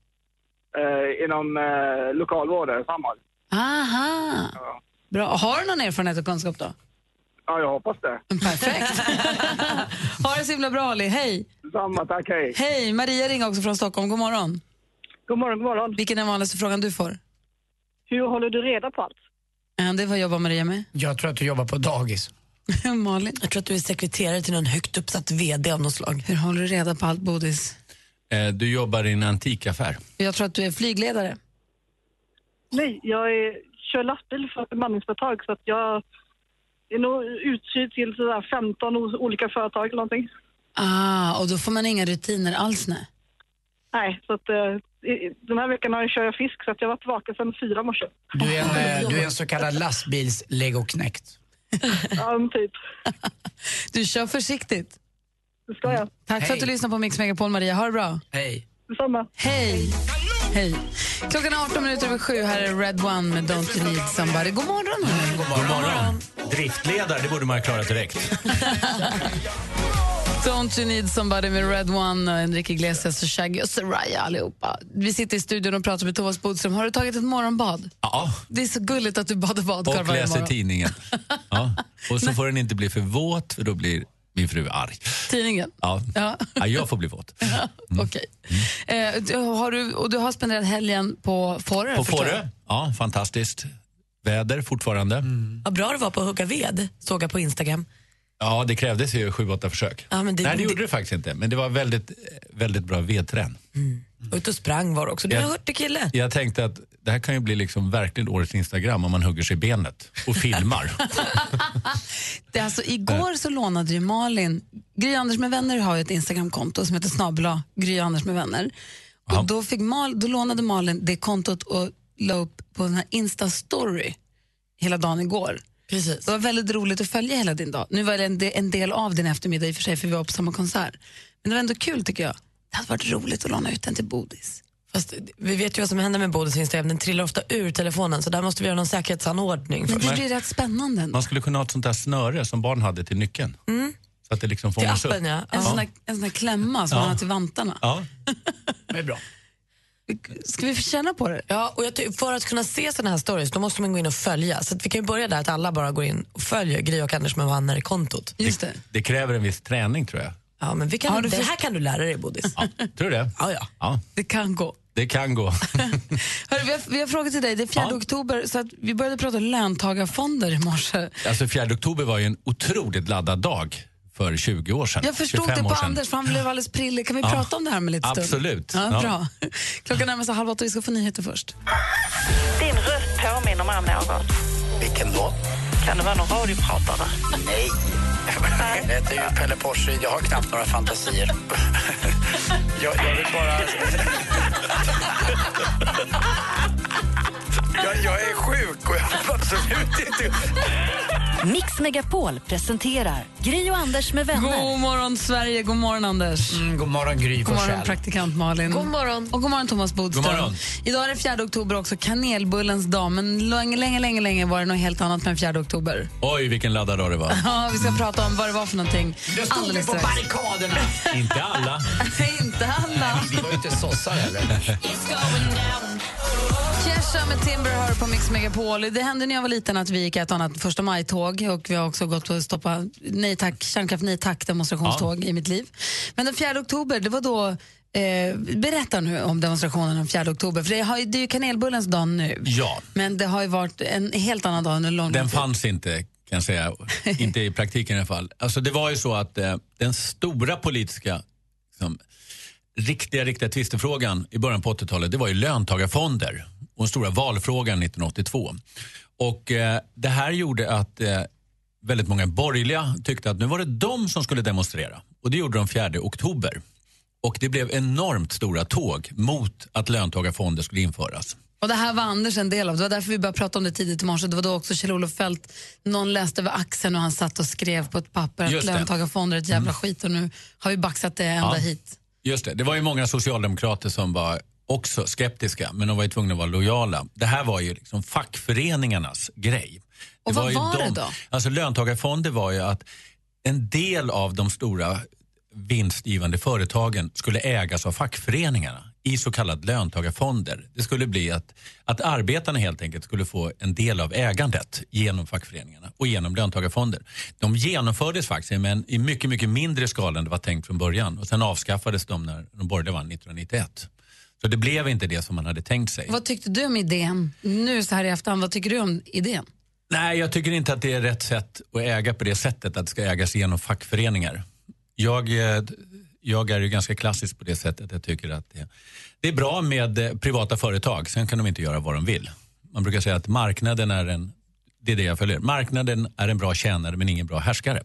S17: eh, inom eh, lokalvården,
S3: Ah.
S17: Samhall.
S3: Aha! Bra. Har du någon erfarenhet och kunskap då?
S17: Ja, jag hoppas det.
S3: Perfekt. ha det så himla bra Ali, hej!
S17: Samma, tack, hej.
S3: Hej, Maria ringer också från Stockholm, god morgon.
S18: God morgon, god morgon.
S3: Vilken är den vanligaste frågan du får?
S18: Hur håller du reda på allt?
S3: Ja, det är vad jobbar Maria med.
S4: Jag tror att du jobbar på dagis.
S3: Malin?
S2: Jag tror att du är sekreterare till någon högt uppsatt VD av något slag.
S3: Hur håller du reda på allt Bodis?
S16: Eh, Du jobbar i en antikaffär.
S3: Jag tror att du är flygledare.
S18: Nej, jag är, kör lastbil för ett bemanningsföretag så att jag är nog utkyrd till sådär 15 o- olika företag eller någonting.
S3: Ah, och då får man inga rutiner alls nej.
S18: Nej, så att eh, i- den här veckan har jag kört fisk så att jag har varit vaken sedan fyra i morse.
S4: Du är en, eh, du är en så kallad lastbils-legoknekt.
S18: Ja, men typ.
S3: Du kör försiktigt.
S18: Det ska jag.
S3: Tack för
S18: Hej.
S3: att du lyssnar på Mix Megapol Maria, ha det bra.
S4: Hej.
S18: Detsamma.
S3: Hej! Hej. Klockan är 18 minuter över sju. Här är Red One med Don't You Need Somebody. God morgon! hörni.
S16: God morgon. Driftledare, det borde man ha klarat direkt.
S3: Don't You Need Somebody med Red One, och Enrique Iglesias och Shaggy och Soraya allihopa. Vi sitter i studion och pratar med Thomas Bodström. Har du tagit ett morgonbad?
S16: Ja,
S3: Det är så gulligt att du badar badkar
S16: och
S3: varje
S16: läser
S3: morgon.
S16: tidningen. Ja. Och så får den inte bli för våt, för då blir min fru arg.
S3: Tidningen?
S16: Ja.
S3: Ja.
S16: Ja, jag får bli våt. Mm.
S3: Okej. Eh, du, har du, och du har spenderat helgen på Fårö?
S16: På
S3: förstår jag.
S16: Fårö, ja, fantastiskt. Väder fortfarande.
S2: Vad bra det var på att hugga ved, såg jag på Instagram.
S16: Ja, det krävdes ju sju, åtta försök.
S2: Ja, men det-
S16: Nej, det
S2: det-
S16: gjorde det faktiskt inte. Men det var väldigt, väldigt bra vedträn.
S2: Ute Mm. och sprang var det också. Du är en
S16: Jag-
S2: hurtig kille.
S16: Jag tänkte att det här kan ju bli liksom verkligen årets Instagram om man hugger sig i benet och filmar.
S3: Det är alltså, igår så lånade ju Malin... Gry Anders med vänner har ju ett Instagramkonto som heter snabla Gry Anders med vänner. Och då, fick Mal, då lånade Malin det kontot och la upp på den här Insta-story hela dagen igår.
S2: Precis.
S3: Det var väldigt roligt att följa hela din dag. Nu var det en, de- en del av din eftermiddag i och för sig för vi var på samma konsert. Men det var ändå kul tycker jag. Det hade varit roligt att låna ut den till Bodis.
S2: Fast vi vet ju vad som händer med Bodils Instagram, den trillar ofta ur telefonen så där måste vi göra någon säkerhetsanordning.
S3: Men
S2: först.
S3: det blir rätt spännande. ändå.
S16: Man skulle kunna ha ett sånt där snöre som barn hade till nyckeln.
S3: Mm.
S16: Så att det liksom
S2: Till
S16: fångas upp.
S2: appen, ja.
S3: En, sån där, en sån där klämma som
S16: Ja.
S3: man har till vantarna.
S16: Ja.
S4: Det är bra.
S2: Ska vi känna på det? Ja, och jag ty- för att kunna se sådana här stories då måste man gå in och följa. Så att vi kan ju börja där att alla bara går in och följer Gry och Anders med vänner i kontot.
S3: Just det.
S16: Det kräver en viss träning tror jag.
S2: Ja, men vi kan,
S3: Har du
S2: det
S3: först-
S2: här kan du lära dig Bodis.
S16: Tror du det?
S2: Ja, ja.
S16: ja.
S3: Det kan gå.
S16: Det kan gå.
S3: Hörru, vi, har, vi har frågat till dig, det är 4 oktober så att vi började prata löntagarfonder i morse.
S16: Alltså 4 oktober var ju en otroligt laddad dag för 20 år sedan.
S3: Jag förstod
S16: 25
S3: det på
S16: år sedan.
S3: Anders för han blev alldeles prillig. Kan vi
S16: Ja.
S3: prata om det här med lite stund?
S16: Absolut.
S3: Ja,
S16: Ja.
S3: Bra. Klockan närmar sig halv åtta, vi ska få nyheter först.
S19: Din röst påminner mig om någon.
S5: Vilken då?
S19: Kan det vara någon radiopratare?
S5: Nej. Det är ju Pelle Porsche. Jag har knappt några fantasier. Jag, jag vill bara... Jag, jag är sjuk och jag alltså vill absolut inte...
S1: Mix Megapol presenterar Gry och Anders med vänner.
S3: God morgon Sverige, god morgon Anders.
S4: god morgon Gry
S3: God morgon
S1: Forssell.
S3: praktikant Malin. God
S2: morgon.
S3: Och god morgon Thomas Bodström.
S1: God morgon.
S3: Idag är det 4 oktober också, kanelbullens dag. Men länge, länge, länge, länge var det något helt annat med 4 oktober.
S16: Oj, vilken laddad dag det var.
S3: Ja, vi ska prata om vad det var för någonting
S4: Då stod
S3: alldeles
S4: vi på
S3: strax.
S4: barrikaderna.
S16: Inte alla.
S3: Nej, inte alla.
S4: Vi var ju inte sossar heller.
S3: Kesha med Timber hör på Mix Megapol. Det hände när jag var liten att vi gick ett och annat första maj-tåg och vi har också gått och stoppat nej tack, kärnkraft nej tack demonstrationståg i mitt liv. Men den 4 oktober, det var då eh, berätta nu om demonstrationen den 4 oktober, för det, har, ju- det är ju kanelbullens dag nu.
S16: Ja,
S3: Men det har ju varit en helt annan dag under lång
S16: den
S3: tid.
S16: fanns inte kan jag säga. Inte i praktiken i alla fall. Alltså det var ju så att eh, den stora politiska liksom, riktiga, riktiga tvistefrågan i början på 80-talet, det var ju löntagarfonder och den stora valfrågan 1982. Och eh, det här gjorde att eh, väldigt många borgerliga tyckte att nu var det de som skulle demonstrera. Och det gjorde de 4 oktober. Och det blev enormt stora tåg mot att löntagarfonder skulle införas.
S3: Och det här var Anders en del av. Det var därför vi började prata om det tidigt i morse. Det var då också Kjell-Olof Fält, någon läste över axeln och han satt och skrev på ett papper att
S16: Just det. Mm.
S3: löntagarfonder är ett jävla skit och nu har vi baxat det ända
S16: Ja.
S3: hit.
S16: Just det, det var ju många socialdemokrater som var också skeptiska, men de var ju tvungna att vara lojala. Det här var ju liksom fackföreningarnas grej.
S3: Och vad
S16: ju
S3: var det
S16: de-
S3: då?
S16: Alltså löntagarfonder var ju att en del av de stora vinstgivande företagen skulle ägas av fackföreningarna i så kallade löntagarfonder. Det skulle bli att, att arbetarna helt enkelt skulle få en del av ägandet genom fackföreningarna och genom löntagarfonder. De genomfördes faktiskt men i mycket, mycket mindre skala än det var tänkt från början och sen avskaffades de när de borgerliga vann 1991. Så det blev inte det som man hade tänkt sig.
S3: Vad tyckte du om idén? Nu så här i efterhand, vad tycker du om idén?
S16: Nej, jag tycker inte att det är rätt sätt att äga på det sättet, att det ska ägas genom fackföreningar. Jag, eh, jag är ju ganska klassisk på det sättet. Jag tycker att det, det är bra med eh, privata företag, sen kan de inte göra vad de vill. Man brukar säga att marknaden är en, det är det jag följer, marknaden är en bra tjänare men ingen bra härskare.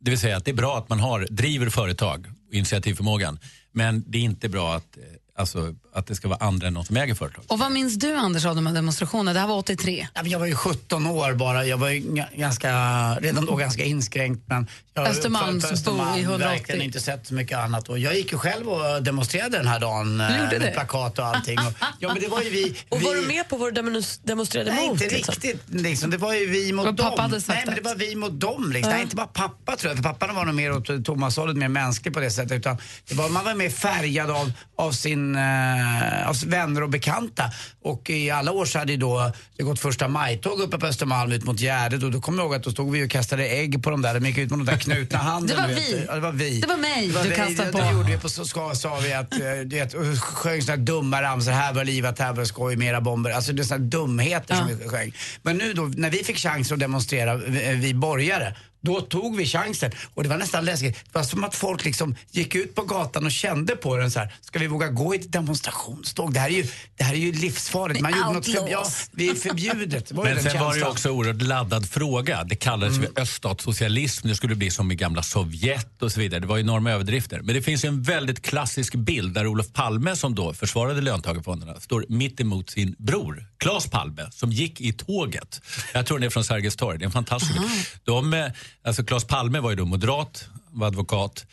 S16: Det vill säga att det är bra att man har, driver företag och initiativförmågan, men det är inte bra att, eh, alltså, att det ska vara andra än de som äger företag.
S3: Och vad minns du Anders av de här demonstrationerna? Det här var 83.
S4: Ja, men Jag var ju 17 år bara. Jag var ju ga- ganska, redan då ganska inskränkt. Men jag
S3: Östermalmsbo i 180.
S4: verkligen inte sett så mycket annat. Och jag gick ju själv och demonstrerade den här dagen.
S2: Du
S4: eh,
S2: gjorde
S4: med
S2: det?
S4: plakat och allting. Och, ja, men det var ju vi,
S2: Och var
S4: vi-
S2: du med på vad du demons- demonstrerade
S4: Nej,
S2: mot?
S4: inte riktigt. Liksom. Det var ju vi mot
S2: Men
S4: dem.
S2: pappa hade sagt
S4: Nej, men det
S2: det.
S4: var vi mot dem. Liksom.
S2: Ja.
S4: Nej, inte bara pappa tror jag, för pappan var nog mer åt Thomas-hållet, mer mänsklig på det sättet. Utan det var, man var mer färgad av, av, sin, eh, av sina vänner och bekanta. Och i alla år så hade ju då det gått första maj-tåg uppe på Östermalm ut mot Gärdet och då kommer jag ihåg att då stod vi och kastade ägg på de där, de gick ut med de där knutna handen.
S3: Det var
S4: du vet.
S3: vi.
S4: Ja, det var vi.
S3: Det var mig
S4: Det var
S3: du
S4: vi.
S3: kastade
S4: Det-
S3: på.
S4: Det gjorde vi på så ska, sa vi att, eh, du vet, och sjöng såna här dumma ramsor, här var livet, här var skoj, mera bomber. Alltså det är såna här dumheter som vi sjöng. Men nu då, när vi fick chans att demonstrera, vi, vi borgare, då tog vi chansen. Och det var nästan läskigt. Det var som att folk liksom gick ut på gatan och kände på den så här. ska vi våga gå i ett demonstrationståg? Det här är ju, det här är ju livsfarligt. Man gjorde något för, ja,
S16: Outlaws.
S4: vi är förbjudet. Det var ju
S16: Men
S4: den
S16: sen var det ju
S4: känslan. Mm.
S16: också en oerhört laddad fråga. Det kallades för öststatssocialism, det skulle bli som i gamla Sovjet och så vidare. Det var enorma överdrifter. Men det finns ju en väldigt klassisk bild där Olof Palme, som då försvarade löntagarfonderna, står mitt emot sin bror Claes Palme, som gick i tåget. Jag tror den är från Sergels torg, det är en fantastisk bild. De, eh, alltså Claes Palme var ju då moderat, var advokat.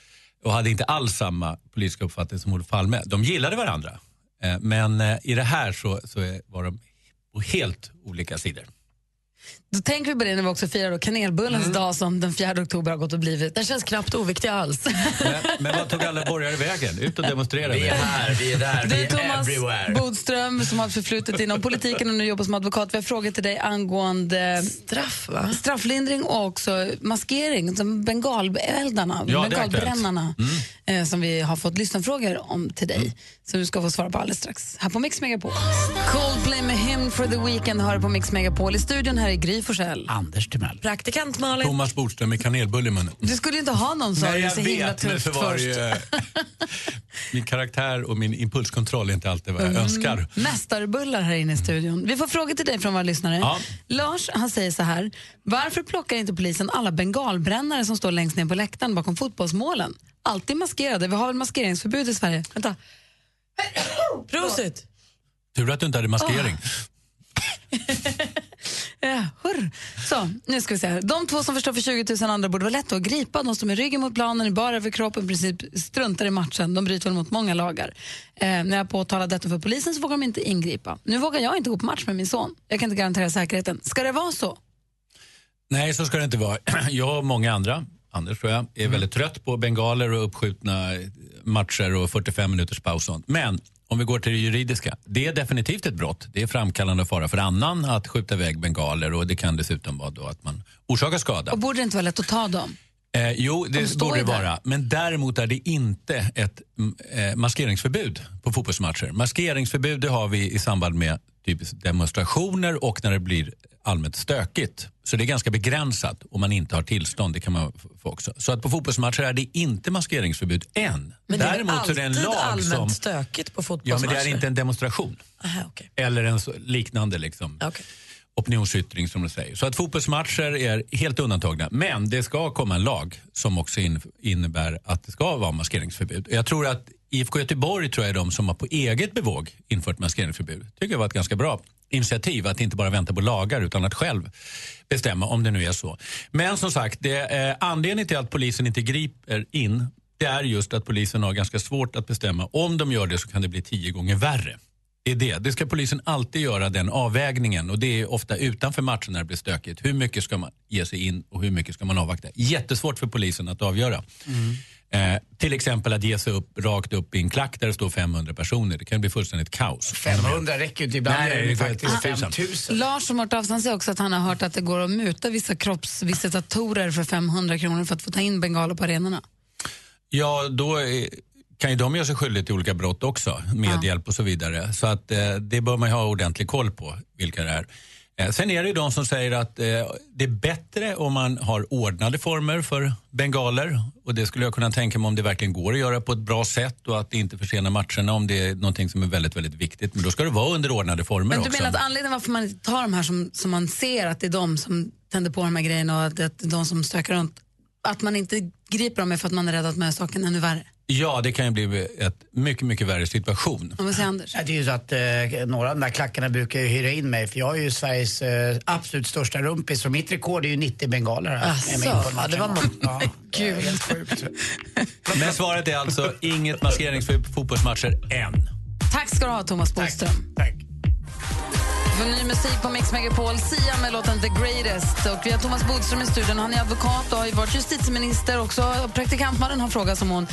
S16: och hade inte alls samma politiska uppfattning som Olof Palme. De gillade varandra, eh, men eh, i det här så, så är- var de på helt olika sidor.
S3: Då tänker vi på det när vi också firar då kanelbullens dag som den 4 oktober har gått och blivit. Mm. Den känns knappt oviktig alls.
S16: Men, men vad tog alla borgare vägen? Ut och demonstrera.
S4: Vi är här, vi är där,
S16: Det
S4: vi
S16: är
S4: är
S3: Thomas
S4: everywhere.
S3: Bodström som har ett förflutet inom politiken och nu jobbar som advokat. Vi har frågor till dig angående Straff, strafflindring och också maskering, som bengaleldarna,
S20: Ja, det är
S3: bengalbrännarna
S16: Mm.
S3: eh, som vi har fått lyssnarfrågor om till dig. Som du ska få svara på alldeles strax. Här på Mix Megapol. Coldplay med Hymn for the Weekend hör du på Mix Megapol. I studion här är Gry Forssell.
S16: Anders Timell.
S3: Praktikant Malin.
S16: Thomas Bodström med kanelbulle i munnen.
S3: Du skulle inte ha någon sa
S16: Nej,
S3: du
S16: jag
S3: så himla
S16: vet, men
S3: tufft
S16: för varje,
S3: först.
S16: min karaktär och min impulskontroll är inte alltid vad jag
S3: Mm.
S16: önskar.
S3: Mästarbullar här inne i studion. Vi får frågor till dig från våra lyssnare.
S16: Ja.
S3: Lars han säger så här. Varför plockar inte polisen alla bengalbrännare som står längst ner på läktaren bakom fotbollsmålen? Alltid maskerade. Vi har väl maskeringsförbud i Sverige? Vänta. Prosit!
S16: Tur att du inte hade maskering.
S3: Eh, hurr. Så, nu ska vi se här. De två som förstår för 20 000 andra borde vara lätta att gripa. De står med ryggen mot planen, i bara över kroppen, i princip struntar i matchen. De bryter väl mot många lagar. Eh, när jag påtalar detta för polisen så vågar de inte ingripa. Nu vågar jag inte gå på match med min son. Jag kan inte garantera säkerheten. Ska det vara så?
S16: Nej, så ska det inte vara. Jag och många andra, Anders tror jag, är väldigt trött på bengaler och uppskjutna matcher och 45 minuters paus och sånt. Men om vi går till det juridiska. Det är definitivt ett brott. Det är framkallande av fara för annan att skjuta iväg bengaler och det kan dessutom vara då att man orsakar skada.
S3: Och borde det inte vara lätt att ta dem?
S16: Eh, jo,
S3: De
S16: det
S3: står
S16: borde det
S3: ju där.
S16: vara. Men däremot är det inte ett mm, eh, maskeringsförbud på fotbollsmatcher. Maskeringsförbud det har vi i samband med typiskt demonstrationer och när det blir allmänt stökigt. Så det är ganska begränsat om man inte har tillstånd. Det kan man f- få också. Så att på fotbollsmatcher är det inte maskeringsförbud än.
S2: Men det är väl
S16: däremot så är
S2: alltid
S16: det en lag
S2: allmänt
S16: som...
S2: stökigt på
S16: Ja,
S2: fotbollsmatcher?
S16: men det är inte en demonstration. Eller en så, liknande liksom, opinionsyttring som de säger. Så att fotbollsmatcher är helt undantagna. Men det ska komma en lag som också in, innebär att det ska vara maskeringsförbud. Jag tror att IFK Göteborg tror jag är de som har på eget bevåg infört maskeringsförbud. tycker jag var ett ganska bra initiativ att inte bara vänta på lagar utan att själv bestämma om det nu är så. Men som sagt, det, eh, anledningen till att polisen inte griper in det är just att polisen har ganska svårt att bestämma. Om de gör det så kan det bli tio gånger värre. Det är det. Det ska polisen alltid göra den avvägningen och det är ofta utanför matchen när det blir stökigt. Hur mycket ska man ge sig in och hur mycket ska man avvakta? Jättesvårt för polisen att avgöra. Eh, till exempel att ge sig upp rakt upp i en klack där det står 500 personer. Det kan bli fullständigt kaos.
S4: 500 räcker ju inte. Ibland
S16: Nej,
S4: är det
S16: det
S4: ju
S16: går
S4: faktiskt
S16: inte.
S4: 5000.
S3: Lars som har hört av sig han säger också att han har hört att det går att muta vissa kroppsvisitatorer för 500 kronor för att få ta in bengaler på arenorna.
S16: Ja, då eh, kan ju de göra sig skyldiga till olika brott också, medhjälp och så vidare. Så att eh, det bör man ju ha ordentlig koll på vilka det är. Eh, sen är det ju de som säger att eh, det är bättre om man har ordnade former för bengaler. Och det skulle jag kunna tänka mig om det verkligen går att göra på ett bra sätt och att det inte försenar matcherna om det är någonting som är väldigt, väldigt viktigt. Men då ska det vara under ordnade former
S3: Men du
S16: också.
S3: menar att anledningen varför man inte tar de här som, som man ser att det är de som tänder på de här grejerna och att det är de som stökar runt, att man inte griper dem är för att man är rädd att man gör saken ännu värre?
S16: Ja, det kan ju bli ett mycket, mycket värre situation.
S3: Vad säger Anders?
S4: Det är ju så att eh, några av de där klackarna brukar ju hyra in mig för jag är ju Sveriges eh, absolut största rumpis så mitt rekord är ju 90 bengaler. här.
S2: Asså,
S4: Jag är med på en
S2: ja, det
S4: match.
S2: var
S4: Ja,
S3: Gud.
S4: helt sjukt.
S16: Men svaret är alltså inget maskeringsförbud på fotbollsmatcher än.
S3: Tack ska du ha Thomas Bodström.
S4: Tack.
S3: För ny musik på Mix Megapol, Sia med låten The Greatest. Och vi har Thomas Bodström i studion, han är advokat och har ju varit justitieminister också. Och Praktikantmannen har en fråga som hon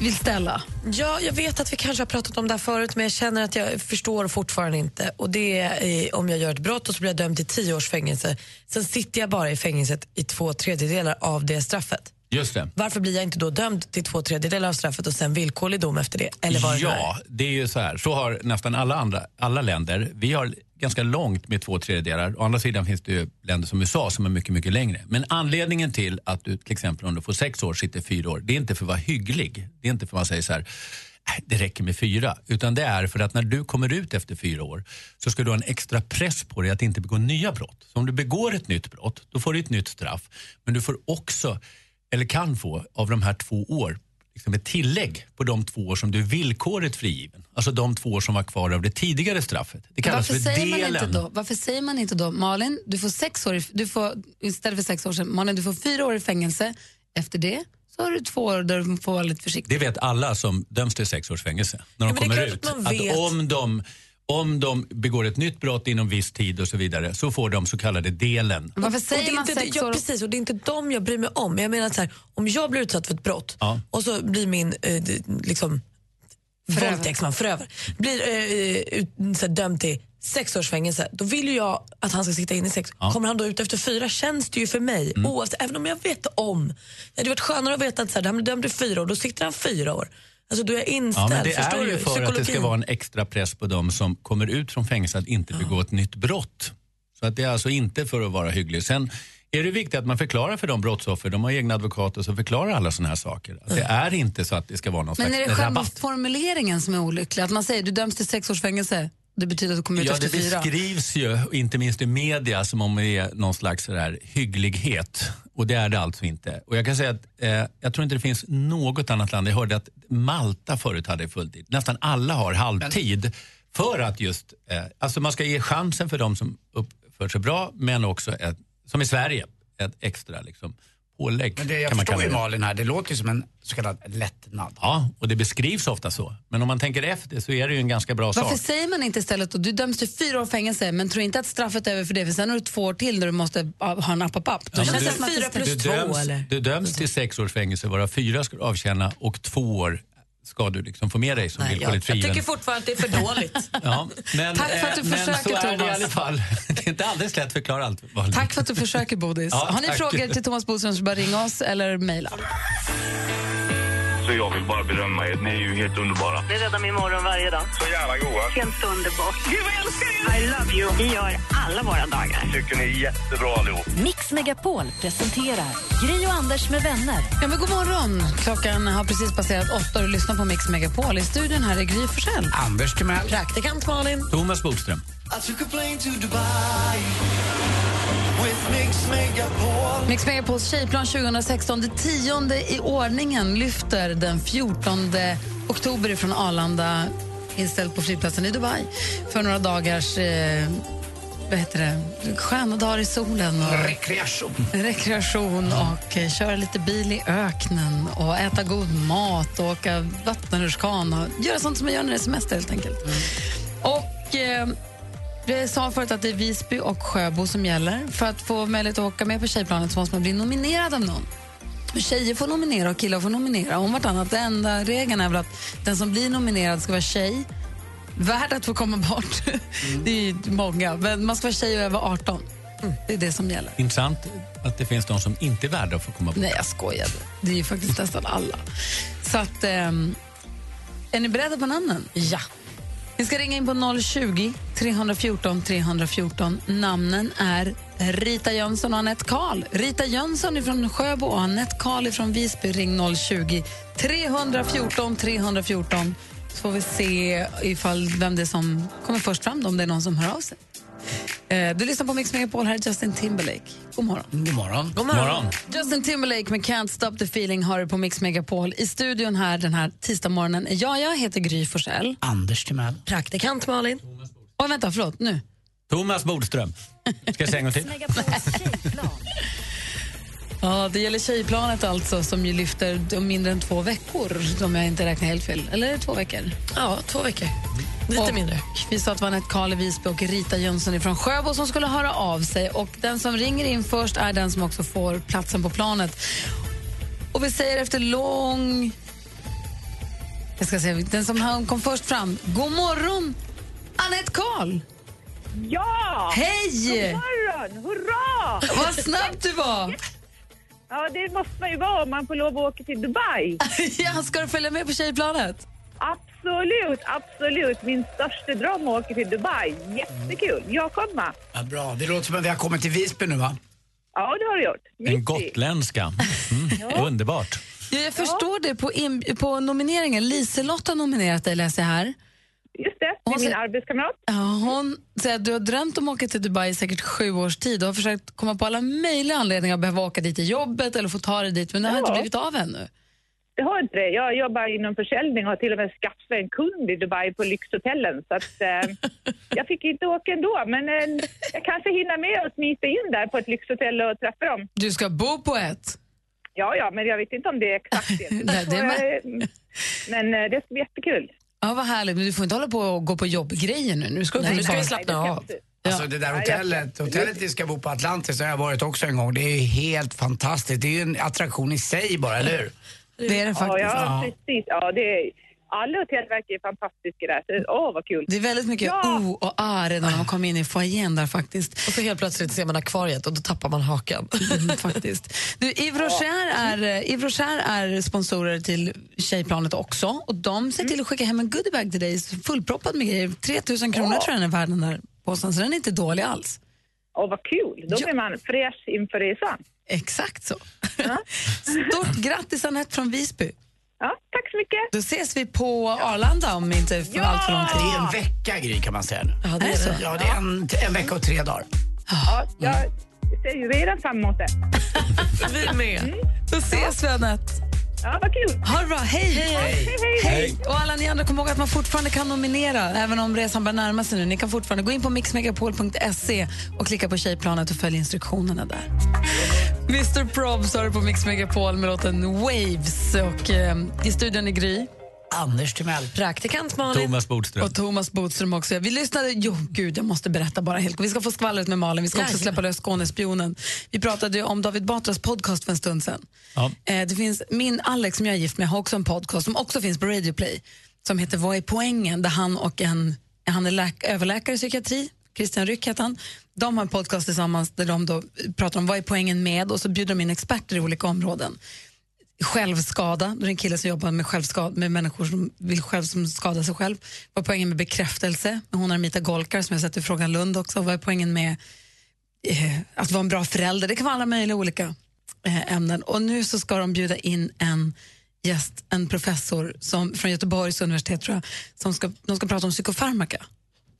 S3: vill ställa.
S2: Ja, jag vet att vi kanske har pratat om det här förut men jag känner att jag förstår fortfarande inte. Och det är eh, om jag gör ett brott och så blir jag dömd till tio års fängelse. Sen sitter jag bara i fängelset i två tredjedelar av det straffet.
S16: Just det.
S2: Varför blir jag inte då dömd till två tredjedelar av straffet och sen villkorlig dom efter det? Eller vad det nu är?
S16: ja, det är ju så här. Så har nästan alla andra alla länder. Vi har ganska långt med två tredjedelar. Å andra sidan finns det ju länder som USA som är mycket, mycket längre. Men anledningen till att du till exempel om du får sex år sitter fyra år, det är inte för att vara hygglig. Det är inte för att man säger så här, "Äh, det räcker med fyra. Utan det är för att när du kommer ut efter fyra år så ska du ha en extra press på dig att inte begå nya brott. Så om du begår ett nytt brott, då får du ett nytt straff. Men du får också, eller kan få, av de här två år liksom ett tillägg på de två år som du är villkorligt frigiven. Alltså de två år som var kvar av det tidigare straffet. Det kallas
S3: Varför
S16: för
S3: säger, man inte
S16: delen.
S3: då, varför säger man inte då, Malin, du får sex år, i- du får, istället för sex år sedan, Malin, du får fyra år i fängelse. Efter det så har du två år där du får vara lite försiktig.
S16: Det vet alla som döms till sex års fängelse när de
S3: Ja, men det är
S16: kommer
S3: klart
S16: ut.
S3: att man
S16: Att
S3: vet.
S16: om de, om de begår ett nytt brott inom viss tid och så vidare så får de så kallade delen.
S3: Varför
S2: och det
S3: säger
S2: är
S3: man
S2: inte,
S3: sex
S2: ja,
S3: år?
S2: Precis, och det är inte dem jag bryr mig om. Jag menar att så här, om jag blir utsatt för ett brott
S16: Ja.
S2: och så blir min eh, d- liksom, våldtäktsman, förövare, blir eh, ut, så här, dömd till sex års fängelse, då vill ju jag att han ska sitta inne i sex.
S1: Ja.
S2: Kommer han då ut efter fyra känns det ju för mig,
S16: Mm.
S2: oavsett, även om jag vet om. Det hade varit skönare att veta att så här, han blir dömd till fyra år, då sitter han fyra år. Alltså då är jag
S16: Ja,
S2: inställd,
S16: men det
S2: förstår
S16: är ju
S2: du?
S16: för att det ska vara en extra press på de som kommer ut från fängelse att inte begå ett nytt brott. Så att det är alltså inte för att vara hygglig. Sen är det viktigt att man förklarar för de brottsoffer, de har egna advokater som förklarar alla sådana här saker. Att det är inte så att det ska vara någon
S3: Men är
S16: slags
S3: det själva
S16: rabatt.
S3: formuleringen som är olycklig? Att man säger du döms till sex års fängelse, det betyder att du kommer ut
S16: Ja,
S3: efter
S16: det
S3: fyra.
S16: beskrivs ju, inte minst i media, som om det är någon slags sådär hygglighet. Och det är det alltså inte. Och jag kan säga att eh, jag tror inte det finns något annat land. Jag hörde att Malta förut hade fulltid. Nästan alla har halvtid. För att just, eh, alltså man ska ge chansen för de som uppför sig bra, men också, ett, som i Sverige, ett extra liksom, pålägg.
S4: Men det, jag
S16: kan man
S4: förstår
S16: kalla
S4: ju
S16: det.
S4: Malin här, det låter ju som en så kallad lättnad.
S16: Ja, och det beskrivs ofta så. Men om man tänker efter så är det ju en ganska bra
S3: Varför
S16: sak.
S3: säger man inte istället då, du döms till fyra år fängelse men tror inte att straffet är över för det för sen har du två år till där du måste ah, ha en app-app.
S16: Ja, men
S3: som att det stämmer.
S16: du döms, Du döms till sex års fängelse, varav fyra ska du avtjäna och två år ska du liksom få med dig som
S2: Nej, jag, jag
S16: villkorligt frigiven.
S2: tycker fortfarande att det är för dåligt.
S16: Ja, men,
S3: Tack för att du
S16: eh, men
S3: försöker,
S16: så är det i
S3: Thomas.
S16: alla fall. Det är inte alldeles lätt att förklara allt. Malin.
S3: Tack för att du försöker Bodis.
S16: Ja,
S3: har ni
S16: tack.
S3: frågor till Thomas Bodström så bara ringa oss eller mejla.
S14: Så jag vill bara berömma er. Ni är ju helt underbara.
S19: Det räddar min morgon varje dag.
S14: Så jävla goa.
S19: Helt underbart. Gud, vad jag älskar er! I love you. Vi gör alla våra dagar.
S14: tycker ni är jättebra allihop.
S1: Mix Megapol presenterar Gri och Anders med vänner.
S3: Ja, men god morgon. Klockan har precis passerat åtta och du lyssnar på Mix Megapol. I studion här är Gry Forssell.
S4: Anders Timell.
S3: Praktikant Malin.
S16: Thomas Bodström.
S3: Mix Megapols tjejplan 2016, det tionde i ordningen, lyfter den 14 oktober från Arlanda inställt på flygplatsen i Dubai för några dagars eh, vad heter det? sköna dagar i solen. Och
S4: Rekreation.
S3: rekreation och eh, köra lite bil i öknen och äta god mat och åka vattenrutschkana. Göra sånt som man gör när det är semester helt enkelt. Och eh, vi sa förut att det är Visby och Sjöbo som gäller. För att få möjlighet att åka med på tjejplanet så måste man bli nominerad av någon. Och Tjejer får nominera och killar får nominera. Om vartannat. Den enda regeln är väl att den som blir nominerad ska vara tjej. Värd att få komma bort. Det är ju många. Men man ska vara tjej och över 18. Det är det som gäller.
S16: Intressant att det finns de som inte är värda att få komma bort.
S3: Nej, jag skojade. Det är ju faktiskt nästan alla. Så att, ehm, är ni beredda på namnen? Ja. Ni ska ringa in på 020 314 314. Namnen är Rita Jönsson och Anette Karl. Rita Jönsson ifrån Sjöbo och Anette Karl ifrån Visby. Ring 020 314 314 så får vi se ifall vem det är som kommer först fram, då, om det är någon som hör av sig. Eh, Du lyssnar på Mix Megapol, här är Justin Timberlake. God morgon.
S4: God morgon.
S3: God morgon. Justin Timberlake med Can't stop the feeling har du på Mix Megapol. I studion här den här tisdagsmorgonen. Ja, jag heter Gry Forssell.
S4: Anders Timell.
S3: Praktikant Malin. Och vänta, förlåt. Nu.
S16: Thomas Bodström. Ska jag säga en gång till?
S3: Ja, det gäller tjejplanet alltså som ju lyfter om mindre än två veckor om jag inte räknar helt fel. Eller är det två veckor? Ja, två veckor. Lite mindre. Vi sa att det var Anette Karl i Visby och Rita Jönsson från Sjöbo som skulle höra av sig. Och den som ringer in först är den som också får platsen på planet. Och vi säger efter lång... Jag ska säga, den som han kom först fram. God morgon, Anette Karl!
S15: Ja!
S3: Hej!
S15: God morgon! Hurra!
S3: Vad snabb du var!
S15: Ja, det måste man ju vara om man får lov att åka till Dubai.
S3: ja, ska du följa med på tjejplanet?
S15: Absolut, absolut. Min största dröm är att åka till Dubai. Jättekul. Jag kommer.
S4: Ja, bra, det låter som att vi har kommit till Visby nu va?
S15: Ja, det har du gjort. Mitt i.
S16: En gotländska. Mm. Underbart.
S3: Ja, jag förstår det på, in, på nomineringen. Liselott har nominerat dig, läser jag här.
S15: Just det, det är min arbetskamrat.
S3: Ja, hon säger att du har drömt om att åka till Dubai i säkert sju års tid och har försökt komma på alla möjliga anledningar att behöva åka dit i jobbet eller få ta dig dit, men det har
S15: Ja.
S3: inte blivit av ännu.
S15: Det har inte det. Jag jobbar inom försäljning och har till och med skaffat en kund i Dubai på lyxhotellen. Så att, eh, jag fick inte åka ändå, men eh, jag kanske hinner med att smita in där på ett lyxhotell och träffa dem.
S3: Du ska bo på ett.
S15: Ja, ja, men jag vet inte om det är exakt det.
S3: Nej, det är
S15: Eh, Men eh, det ska bli jättekul.
S3: Ja, vad härligt. Men du får inte hålla på och gå på jobbgrejer nu. Nu ska du
S15: Nej,
S3: på
S15: nu ska
S3: bar.
S15: vi slappna av.
S4: Alltså det där hotellet, hotellet vi ska bo på Atlantis har jag varit också en gång. Det är ju helt fantastiskt. Det är ju en attraktion i sig bara, eller hur?
S3: Det är det
S15: Ja,
S3: faktiskt.
S4: Ja.
S15: ja. precis. Ja, det är, alla hotell verkar ju fantastiska där. Så, Åh, vad kul.
S3: Det är väldigt mycket
S15: Ja.
S3: o och a redan när man kommer in i foajén där faktiskt.
S2: Och så helt plötsligt ser man akvariet och då tappar man hakan.
S3: Mm, faktiskt. Du, Yves Rocher är, eh, Yves Rocher är sponsorer till Tjejplanet också och de ser
S15: Mm.
S3: till att skicka hem en goodiebag till dig fullproppad med grejer. 3000 kronor tror jag den är värd den där påsen, så den är inte dålig alls.
S15: Åh, vad kul. Då blir man fräsch inför resan.
S3: Exakt så. Stort grattis Anette från Visby.
S15: Ja, tack så mycket.
S3: Då ses vi på Arlanda om inte för allt för lång tid.
S4: Det är en vecka, Gry, kan man säga nu.
S3: Ja, det är det.
S4: Ja, det är en, en vecka och tre dagar.
S15: Ja, jag ser ju redan fram emot det.
S2: Vi är med.
S3: Då ses vi, Anette.
S15: Ja, vad kul.
S3: Ha det bra. Hej!
S15: Hej. Hej, hej.
S3: Hej. Och alla ni andra, kom ihåg att man fortfarande kan nominera även om resan börjar närma sig nu. Ni kan fortfarande gå in på mixmegapol.se och klicka på tjejplanet och följ instruktionerna där. Mr Probs har du på Mix Megapol med låten Waves. Och, eh, I studion är Gry.
S4: Anders Timell.
S3: Praktikant Malin.
S16: Thomas Bodström.
S3: Och Thomas Bodström också. Vi lyssnade, jo gud jag måste berätta bara helt Vi ska få skvallret med Malin, vi ska också
S2: Jajamän.
S3: släppa lös Skånespionen. Vi pratade ju om David Batras podcast för en stund sedan.
S16: Ja.
S3: Eh, det finns, min Alex som jag är gift med har också en podcast som också finns på Radio Play som heter Vad är poängen? Där han och en, han är läk, överläkare i psykiatri, Christian Ryck heter han. De har en podcast tillsammans där de då pratar om vad är poängen med och så bjuder de in experter i olika områden självskada. Då är det en kille som jobbar med, självskada, med människor som vill själv som skada sig själv. Vad är poängen med bekräftelse? Hon har Mita Golkar som jag sett i Frågan Lund också. Vad är poängen med eh, att vara en bra förälder? Det kan vara alla möjliga olika eh, ämnen. Och nu så ska de bjuda in en gäst, en professor som, från Göteborgs universitet tror jag, som ska, de ska prata om psykofarmaka.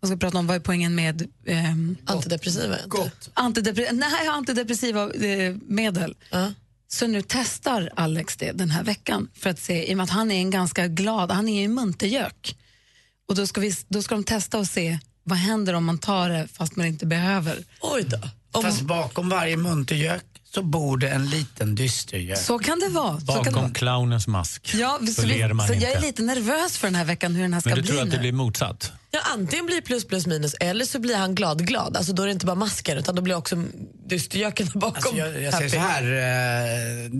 S3: De ska prata om vad är poängen med ehm,
S2: Antidepressiva. Gott.
S3: antidepre- nej, antidepressiva eh, medel. Så nu testar Alex det den här veckan för att se, i och med att han är en ganska glad, han är ju en muntergök. Och då ska, vi, då ska de testa och se vad händer om man tar det fast man inte behöver.
S2: Oj då.
S4: Fast bakom varje muntergök så bor det en liten dystergök.
S3: Så kan det vara. Så kan det vara.
S16: Bakom clownens mask
S3: Ja, så
S16: så,
S3: vi,
S16: ler man
S3: så
S16: inte.
S3: jag är lite nervös för den här veckan hur den här ska
S16: Men du
S3: bli
S16: tror att
S3: nu.
S16: det blir motsatt?
S2: Ja, antingen blir plus plus minus eller så blir han glad-glad. Alltså, då är det inte bara masken utan då blir också dystergöken där bakom.
S4: Alltså, jag, jag säger så
S2: happy.
S4: här. eh,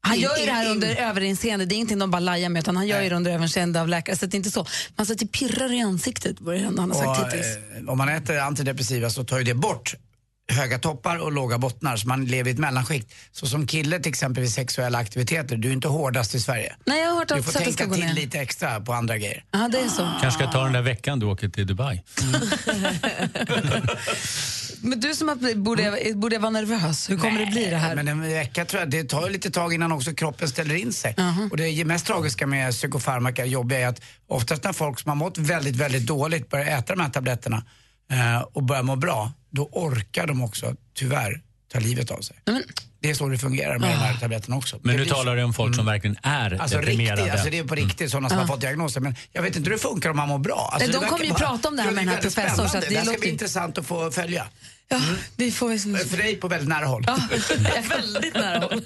S3: Han
S4: in-
S3: gör ju det här
S4: in-
S3: under
S4: in-
S3: överinseende, det är ingenting de bara lajar med utan han gör ju det under överinseende av läkare. Så det är inte så. Man sätter pirrar i ansiktet, var det enda han har sagt
S4: Och,
S3: hittills.
S4: eh, om man äter antidepressiva så tar ju det bort höga toppar och låga bottnar så man lever i ett mellanskikt. Så som kille till exempel vid sexuella aktiviteter, du är inte hårdast i Sverige.
S3: Nej, jag har hört
S4: Du
S3: att
S4: får
S3: sättet ska
S4: tänka
S3: gå
S4: till
S3: ner.
S4: lite extra på andra grejer.
S3: Ja, det är så.
S16: Kanske ska ta den där veckan du åker till Dubai.
S3: Men du som har- borde, jag- borde jag vara nervös, hur kommer det bli det här?
S4: Men en vecka tror jag, det tar ju lite tag innan också kroppen ställer in sig.
S3: Uh-huh.
S4: Och det mest tragiska med psykofarmaka jobbiga är att oftast när folk som har mått väldigt, väldigt dåligt börjar äta de här tabletterna eh, och börjar må bra, då orkar de också tyvärr ta livet av sig. Det är så det fungerar med de
S3: Ah.
S4: här tabletterna också.
S16: Men
S4: det
S16: nu
S4: blir så-
S16: talar du om folk
S13: Mm.
S16: som verkligen är Mm.
S4: Alltså
S16: deprimerade.
S4: riktigt, alltså det är på riktigt sådana som
S3: Ja.
S4: har fått diagnoser. Men jag vet inte hur det funkar om man mår bra. Alltså,
S3: Nej, de
S4: det verkar
S3: kommer ju
S4: bara-
S3: prata om det här
S4: Ja,
S3: med den här
S4: är väldigt
S3: professorn, så att
S4: spännande.
S3: det
S4: Det, här ska
S3: låter-
S4: bli intressant att få följa. Mm.
S3: Ja, vi får ju...
S4: För dig på väldigt nära håll.
S3: väldigt nära håll.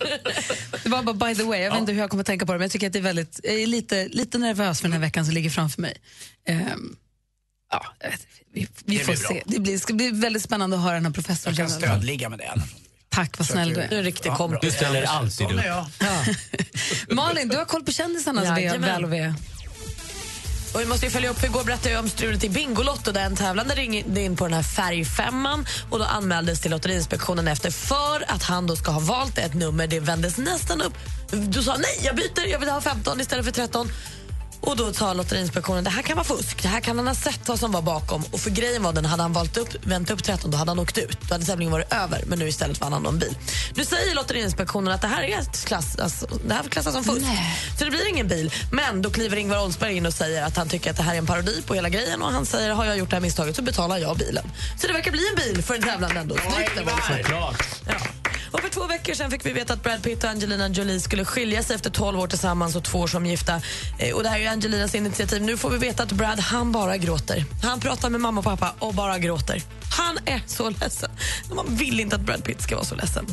S3: Det var bara by the way, jag vet inte hur jag kommer tänka på det men jag tycker att det är väldigt, jag är lite, lite nervös för den här veckan som ligger framför mig. Ehm, ja, jag vet inte. vi, vi
S4: Det
S3: får
S4: blir bra.
S3: se. Det blir, ska bli väldigt spännande att höra den här professorn.
S4: Jag kan
S3: känna.
S4: stödligga med det. annars.
S3: Tack, vad snäll du är.
S2: Du är en riktig
S4: Ja,
S2: kompis.
S4: bra.
S16: Du ställer alltid
S4: Sån är
S16: upp.
S4: jag.
S3: Malin, du har koll på kändisarnas ve-
S2: Jajamän.
S3: väl och ve.
S2: Och vi måste ju följa upp, för igår berättade jag om strulet i Bingolotto där en tävlande ringde in på den här färgfemman och då anmäldes till Lotteriinspektionen efter för att han då ska ha valt ett nummer, det vändes nästan upp. Du sa han, nej, jag byter, jag vill ha 15 istället för 13. Och då sa Lotteriinspektionen det här kan vara fusk, det här kan han ha sett vad som var bakom. Och för grejen var den, hade han valt upp, vänt upp 13 då hade han åkt ut. Då hade tävlingen varit över, men nu istället vann han då en bil. Nu säger Lotteriinspektionen att det här, är ett klass, alltså, det här klassas som fusk. Så det blir ingen bil. Men då kliver Ingvar Oldsberg in och säger att han tycker att det här är en parodi på hela grejen och han säger har jag gjort det här misstaget så betalar jag bilen. Så det verkar bli en bil för en tävlande ändå. Snyggt, Ingvar Oldsberg.
S16: Såklart.
S2: Och för två veckor veckor sedan fick vi veta att Brad Pitt och Angelina Jolie skulle skilja sig efter 12 år tillsammans och två år som gifta. Eh, Och det här är ju Angelinas initiativ. Nu får vi veta att Brad, han bara gråter. Han pratar med mamma och pappa och bara gråter. Han är så ledsen. Man vill inte att Brad Pitt ska vara så ledsen.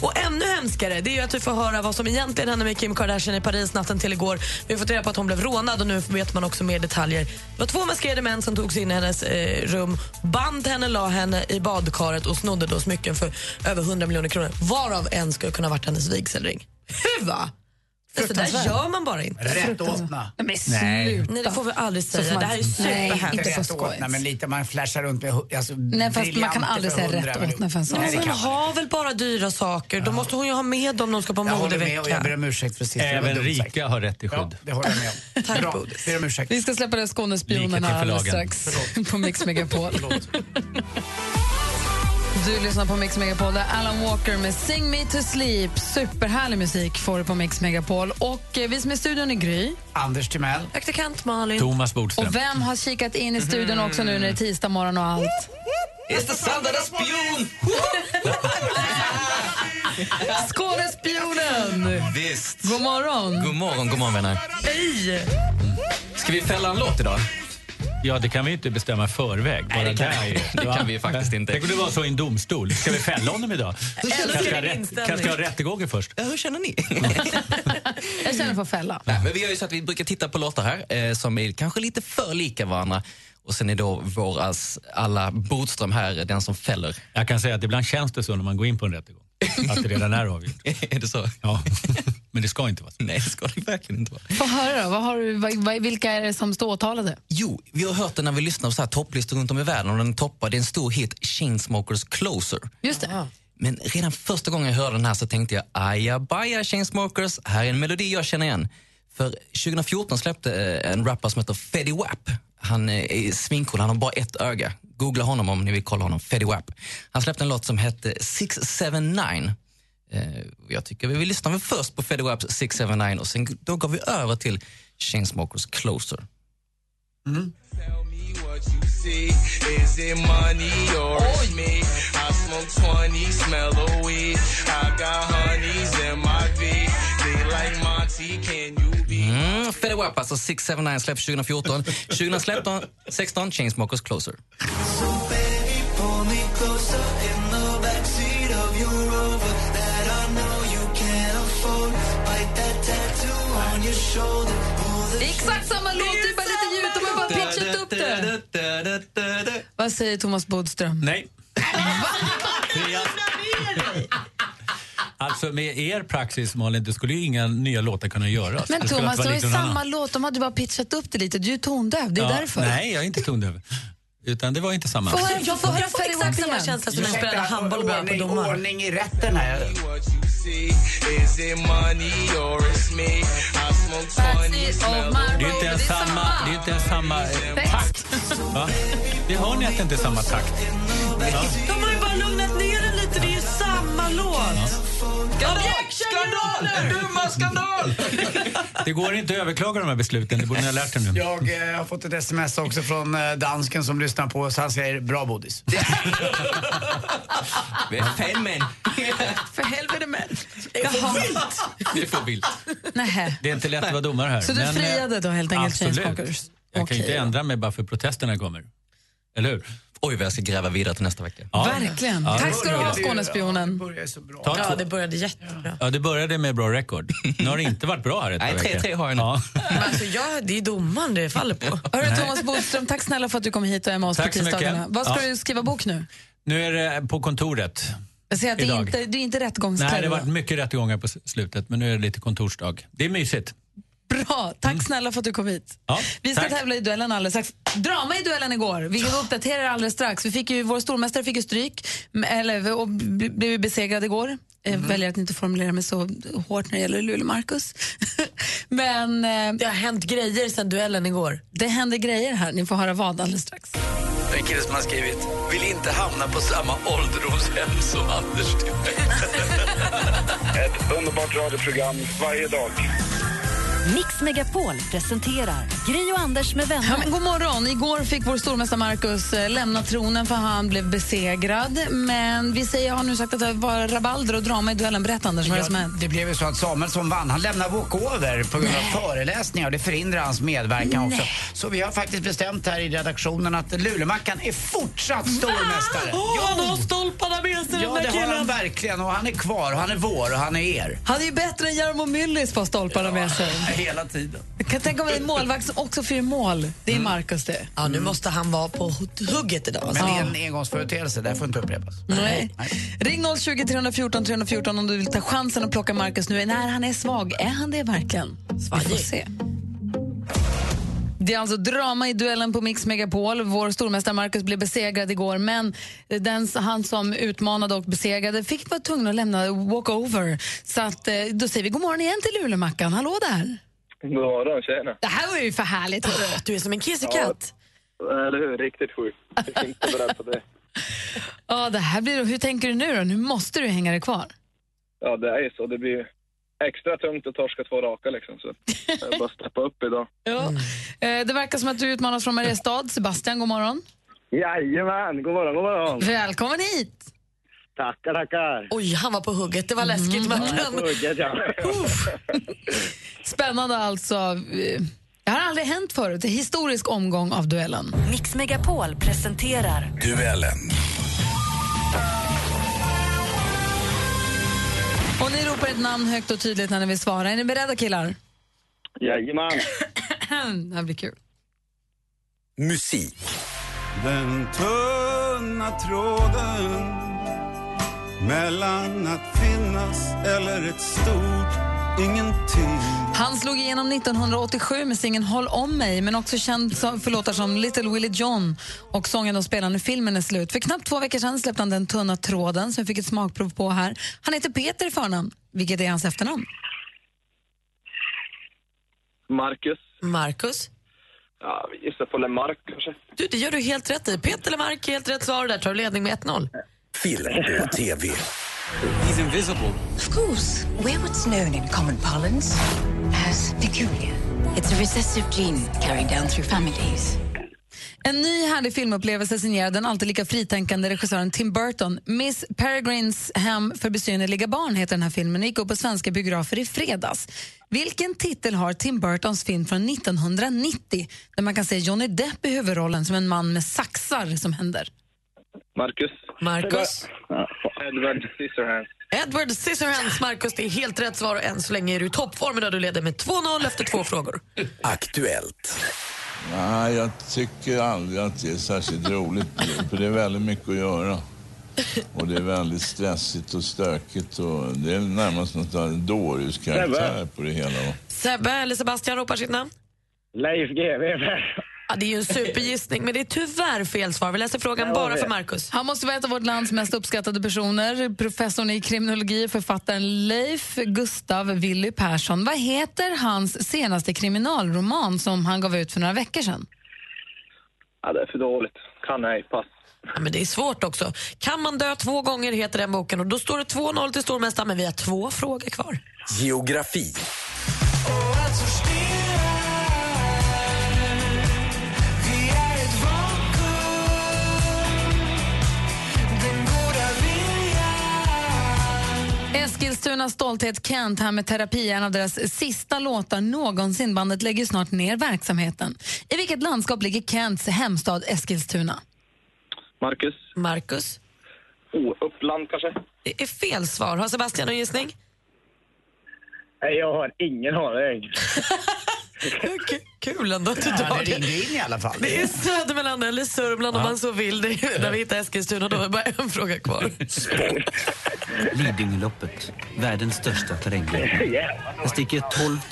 S2: Och ännu hemskare det är ju att vi får höra vad som egentligen hände med Kim Kardashian i Paris natten till igår. Vi har fått reda på att hon blev rånad och nu vet man också mer detaljer. Det var två maskerade män som tog sig in i hennes eh, rum, band henne, la henne i badkaret och snodde då smycken för över 100 miljoner kronor, varav en skulle kunna ha varit hennes vigselring. Hur va? Så där
S4: Fruktansvärt.
S2: gör man bara inte.
S4: Rätt åtna.
S3: Nej, men
S4: Nej.
S2: Nej, det får vi aldrig
S4: Så får
S2: säga.
S4: man-
S2: Det här är
S3: Nej,
S2: superhemskt.
S3: inte så
S4: Rätt åtna,
S3: skojigt.
S4: men lite man flashar runt med hu- alltså,
S3: Nej, fast man kan aldrig säga rätt åtna för en sak.
S4: Nej,
S2: Men
S4: det
S2: hon
S4: kan man.
S2: har väl bara dyra saker? Då måste hon ju ha med dem när hon ska på
S4: Jag håller med
S2: modevecka.
S4: och jag ber om ursäkt för sist. Det var
S16: Även
S4: dumt sagt.
S16: rika har rätt till skydd.
S4: Det håller jag med om. Tack Bra, ber om ursäkt.
S3: Vi ska släppa det Skånespionerna
S16: Lika till
S3: alldeles
S16: förlagen.
S3: strax på Mix Megapol. Du lyssnar på Mix Megapol, där Alan Walker med Sing Me To Sleep. Superhärlig musik får du på Mix Megapol. Och eh, vi som är i studion är Gry.
S4: Anders Timell.
S2: Praktikant Malin.
S16: Thomas Bodström.
S3: Och vem har kikat in i studion också nu när det är tisdag morgon och allt?
S13: It's the sound of the spion!
S3: Skådespionen!
S13: Visst.
S3: God morgon!
S13: God morgon, god morgon vänner.
S3: Hej!
S13: Ska vi fälla en låt idag?
S16: Ja, det kan vi ju inte bestämma i förväg. Bara
S13: Nej, det kan
S16: där
S13: vi-
S16: ju.
S13: det
S16: Va?
S13: kan vi ju faktiskt inte.
S16: Tänk om det var så i en domstol. Ska vi fälla honom idag?
S13: Eller
S16: Kanske
S13: ska
S16: ska
S13: vi
S16: ha rätt-
S13: inställning?
S16: kanske ska ha rättegången först.
S13: Ja, hur känner ni?
S3: Jag känner för fälla.
S13: Nej, men vi gör ju så att vi brukar titta på låtar här eh, som är kanske lite för lika varandra. Och sen är då våras alla Bodström här den som fäller.
S16: Jag kan säga att ibland känns det så när man går in på en rättegång. Att det redan är avgjort.
S13: är det så?
S16: Ja, men det ska inte vara så.
S13: Nej, det ska det verkligen inte vara.
S3: Få höra då, vad har du, vad, vad, vilka är det som står åtalade?
S13: Jo, vi har hört det när vi lyssnar på så här topplistor runt om i världen och den toppar, det är en stor hit, Chainsmokers Closer.
S3: Just det.
S13: Men redan första gången jag hörde den här så tänkte jag ajabaja Chainsmokers, här är en melodi jag känner igen. För 2014 släppte eh, en rapper som heter Fetty Wap. Han eh, är svincool, han har bara ett öga. Googla honom om ni vill kolla honom, Fetty Wap. Han släppte en låt som hette 679. Eh, Jag tycker vi vill lyssna väl först på Fetty Waps 679 och sen då går vi över till Chainsmokers Closer.
S19: Is it money or is me? I smoke 20, smell the weed. I got honeys in my feet. They like Monty, can you?
S13: Mm, Fetty Wap, alltså 679 släpps 2014. 2016, Chainsmokers Closer.
S19: So baby, pull me closer in the backseat of your Rover that I know you can't afford. Bite that tattoo on your shoulder. Pull the
S3: Exakt samma låt, det är bara lite ljud. De har bara pitchat upp det. Vad säger Thomas Bodström?
S16: Nej. Alltså med er praxis Malin, det skulle ju inga nya låtar kunna göras.
S3: Men
S16: Det skulle
S3: Thomas,
S16: vara
S3: det var ju
S16: lite någon
S3: samma
S16: annan.
S3: låt. De hade bara pitchat upp det lite. Du är tondöv, det är
S16: Ja,
S3: därför.
S16: Nej, jag är inte tondöv. Utan det var inte samma.
S3: Få höra-
S2: Jag får, jag får
S3: Fetty Wap
S2: exakt samma
S3: igen.
S2: känsla som när jag spelade handboll och började på
S4: Ordning-
S2: domaren.
S4: Ordning i rätten här.
S19: Is it money or is me? I smoke 20, smell the
S16: Det är ju inte ens samma, det är inte ens samma eh, takt. Va? Det hör ni att det inte är samma takt. Ja.
S2: De har ju bara lugnat ner den lite, det är ju samma låt.
S13: Skandal! Dumma skandal!
S16: Det går inte att överklaga de här besluten, det borde ni ha lärt er nu.
S4: Jag eh, har fått ett sms också från eh, dansken som lyssnar på oss. Han säger bra bodis.
S13: Vi är fel män.
S2: För helvete men.
S16: Det är för vilt.
S3: Nähä.
S16: Det är inte lätt att vara domare här.
S3: Så du
S16: men, eh,
S3: friade då helt enkelt
S16: absolut.
S3: Chainsmokers?
S16: Jag kan ju
S3: Okej
S16: inte ändra mig bara för protesterna kommer. Eller hur?
S13: Oj, vad jag ska gräva vidare till nästa vecka.
S16: Ja.
S3: Verkligen.
S16: Ja,
S3: Tack
S16: det
S3: ska du ha,
S16: började ju-
S3: Skånespionen.
S16: Ta
S2: Ja,
S16: två-
S2: det började jättebra.
S16: Ja, det började med bra rekord. Nu har det inte varit bra här ett par
S13: Nej,
S16: veckor.
S13: 3-3 har jag nu.
S16: Ja.
S2: Men alltså, jag, det är domaren det faller på.
S3: Hörru, Thomas Bodström, tack snälla för att du kom hit och är med oss
S16: Tack
S3: på
S16: så mycket.
S3: tisdagarna. Vad ska
S16: Ja.
S3: du skriva bok nu?
S16: Nu är det på kontoret.
S3: Jag säger att det är
S16: Idag.
S3: inte, det är inte rättegångskläder.
S16: Nej, det har varit mycket rättegångar på s- slutet, men nu är det lite kontorsdag. Det är mysigt.
S3: Bra,
S16: Mm.
S3: tack snälla för att du kom hit.
S16: Ja,
S3: Vi ska
S16: tack.
S3: tävla i duellen alldeles strax. Drama i duellen igår. Vi uppdaterar alldeles strax. Vi fick ju, vår stormästare fick ju stryk m- eller, och bl- blev ju besegrad igår. Mm. Väljer att inte formulera mig så hårt när det gäller Luleå-Markus. Men eh,
S2: Det har hänt grejer sen duellen igår.
S3: det händer grejer här. Ni får höra vad alldeles strax.
S5: En kille som har skrivit vill inte hamna på samma ålderdomshem som Anders
S8: Ett underbart radioprogram varje dag.
S1: Mix Megapol presenterar Gri och Anders med vänner.
S3: Ja, men god morgon. Igår fick vår stormästare Marcus eh, lämna tronen för han blev besegrad. Men vi säger, jag har nu sagt att det var rabalder och drama i duellen. Berätta Anders, vad är det som
S4: Ja,
S3: hänt?
S4: det blev ju så att Samuel som vann, han lämnar walkover på grund av föreläsningar och det förhindrar hans medverkan också. Så vi har faktiskt bestämt här i redaktionen att Lulemackan är fortsatt
S3: Ah!
S4: stormästare.
S2: Åh, han har stolparna med sig
S4: Ja,
S2: den där
S4: det har han
S2: killen.
S4: verkligen och han är kvar och han är vår och han är er.
S3: Han är ju bättre än Jarmo Myllys på stolparna med sig.
S4: Hela tiden.
S3: Jag kan tänka mig en målvakt som också får mål. Det är Marcus det.
S2: Mm.
S3: Mm.
S2: Ja, nu måste han vara på hugget idag.
S4: Men
S2: alltså.
S4: det är en engångsföreteelse, det får inte upprepas.
S3: Nej. Ring 020 314 314 om du vill ta chansen att plocka Marcus nu. När han är svag, är han det verkligen? Vi får se. Det är alltså drama i duellen på Mix Megapol. Vår stormästare Marcus blev besegrad igår men den, han som utmanade och besegrade fick vara tvungen att lämna walkover. Så att, eh, då säger vi god morgon igen till Lulemackan. Hallå där!
S7: God morgon, tjena.
S3: Det här var ju för härligt. hörru.
S2: Du är som en kissekatt.
S7: Ja, eller hur? Riktigt sjukt. Jag är inte beredd på det.
S3: Ja, det här blir, hur tänker du nu då? Nu måste du hänga dig kvar.
S7: Ja, det är ju så. Det blir ju extra tungt att torska två raka liksom. Så jag bara steppa upp idag.
S3: Ja.
S2: Mm.
S3: Eh, Det verkar som att du utmanas från Mariestad. Sebastian, god morgon.
S21: Jajamän, god morgon, god morgon.
S3: Välkommen hit!
S21: Tackar, tackar.
S2: Oj, han var på hugget. Det var
S3: Mm.
S2: läskigt.
S21: Jag
S2: Mackan.
S21: tuggar, ja.
S3: Spännande alltså. Eh, Det har aldrig hänt förut. En historisk omgång av duellen.
S1: Mix Megapol presenterar
S5: Duellen.
S3: Och ni ropar ett namn högt och tydligt när ni vill svara. Är ni beredda killar?
S7: Jajamän.
S3: det här blir kul.
S5: Musik.
S22: Den tunna tråden mellan att finnas eller ett stort ingenting.
S3: Han slog igenom 1987 med singeln Håll om mig men också känd som- för låtar som Little Willie John och sången de spelar när filmen är slut. För knappt två veckor sedan släppte han Den tunna tråden som vi fick ett smakprov på här. Han heter Peter i förnamn, vilket är hans efternamn.
S7: Marcus.
S2: Marcus?
S7: Ja, vi gissar på Lemark kanske.
S2: Du, det gör du helt rätt i. Peter eller Mark, helt rätt svar. Där tar du ledning med 1-0.
S5: Film och TV.
S23: He's invisible.
S24: Of course, we're what's known in common parlance as peculiar. It's a recessive gene carried down through families.
S3: En ny härlig filmupplevelse signerad den alltid lika fritänkande regissören Tim Burton. Miss Peregrines hem för besynnerliga barn heter den här filmen och gick upp på svenska biografer i fredags. Vilken titel har Tim Burtons film från 1990 där man kan se Johnny Depp i huvudrollen som en man med saxar som händer?
S7: Marcus.
S2: Marcus.
S7: Ja, fan. Edward Scissorhands.
S2: Edward Scissorhands, Marcus, det är helt rätt svar och än så länge är du i toppformen och du leder med 2-0 efter två frågor.
S5: Aktuellt.
S25: Nej, jag tycker aldrig att det är särskilt roligt. För det är väldigt mycket att göra. Och det är väldigt stressigt och stökigt. Och det är närmast något av en dårhuskaraktär på det hela. va.
S2: Sebbe eller Sebastian ropar sitt namn.
S21: Leif GW.
S2: Ja, det är ju en supergissning, men det är tyvärr fel svar. Vi läser frågan
S21: Där var
S2: bara
S21: vi.
S2: för Marcus.
S3: Han måste vara ett av vårt lands mest uppskattade personer. Professorn i kriminologi, författaren Leif Gustav Willy Persson. Vad heter hans senaste kriminalroman som han gav ut för några veckor sedan?
S7: Ja, det är för dåligt. Kan ej. Pass.
S2: Ja, men det är svårt också. Kan man dö två gånger heter den boken och då står det 2-0 till stormästaren, men vi har två frågor kvar.
S5: Geografi.
S3: Eskilstunas stolthet Kent här med Terapi, en av deras sista låtar någonsin. Bandet lägger ju snart ner verksamheten. I vilket landskap ligger Kents hemstad Eskilstuna?
S7: Marcus.
S2: Marcus.
S7: Oh, Uppland kanske?
S2: Det är fel svar. Har Sebastian någon gissning?
S21: Nej, jag har ingen aning.
S2: Kul ändå att du
S21: Ja,
S2: drar
S21: det ringde in i alla fall.
S2: Det är Södermanland eller Sörmland om man så vill. Det är där vi hittar Eskilstuna. Då är det bara en fråga kvar.
S26: Lidingöloppet, världens största terränglopp. Det sticker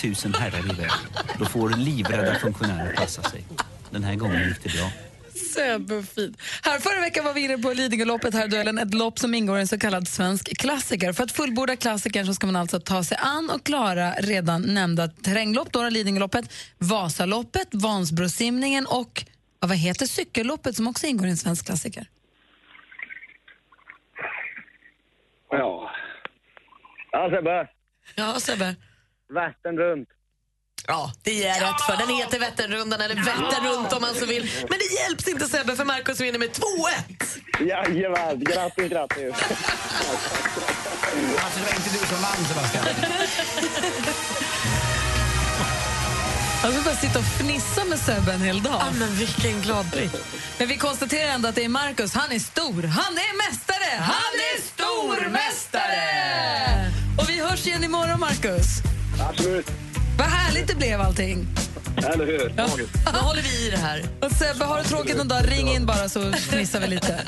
S26: 12 000 herrar iväg. Då får livrädda funktionärer passa sig. Den här gången gick det bra.
S3: Söberfint. Här förra veckan var vi inne på Lidingöloppet här i duellen, ett lopp som ingår i en så kallad svensk klassiker. För att fullborda klassikern så ska man alltså ta sig an och klara redan nämnda terränglopp, då Lidingöloppet, Vasaloppet, Vansbrosimningen och ja, vad heter cykelloppet som också ingår i en svensk klassiker?
S21: Ja. Ja, Sebbe.
S2: Ja, Sebbe.
S21: Vättern runt.
S2: Ja, det ger jag rätt för. Den heter Vätternrundan, eller Vätterrunt om man så vill. Men det hjälps inte Sebbe, för Markus vinner med 2-1.
S21: Jajamän, grattis, grattis.
S4: Alltså det var inte du som vann Sebastian.
S3: Jag ska bara sitta och fnissa med Sebbe en hel dag.
S2: men vilken glad britt.
S3: Men vi konstaterar ändå att det är Markus. Han är stor. Han är mästare! Han är stormästare! Och vi hörs igen imorgon, Markus.
S21: Absolut.
S3: Vad härligt det blev allting.
S21: Eller hur?
S3: Ja.
S21: Magiskt.
S2: Då håller vi i det här.
S3: Och Sebbe, har du tråkigt någon dag, ring in bara så fnissar vi lite.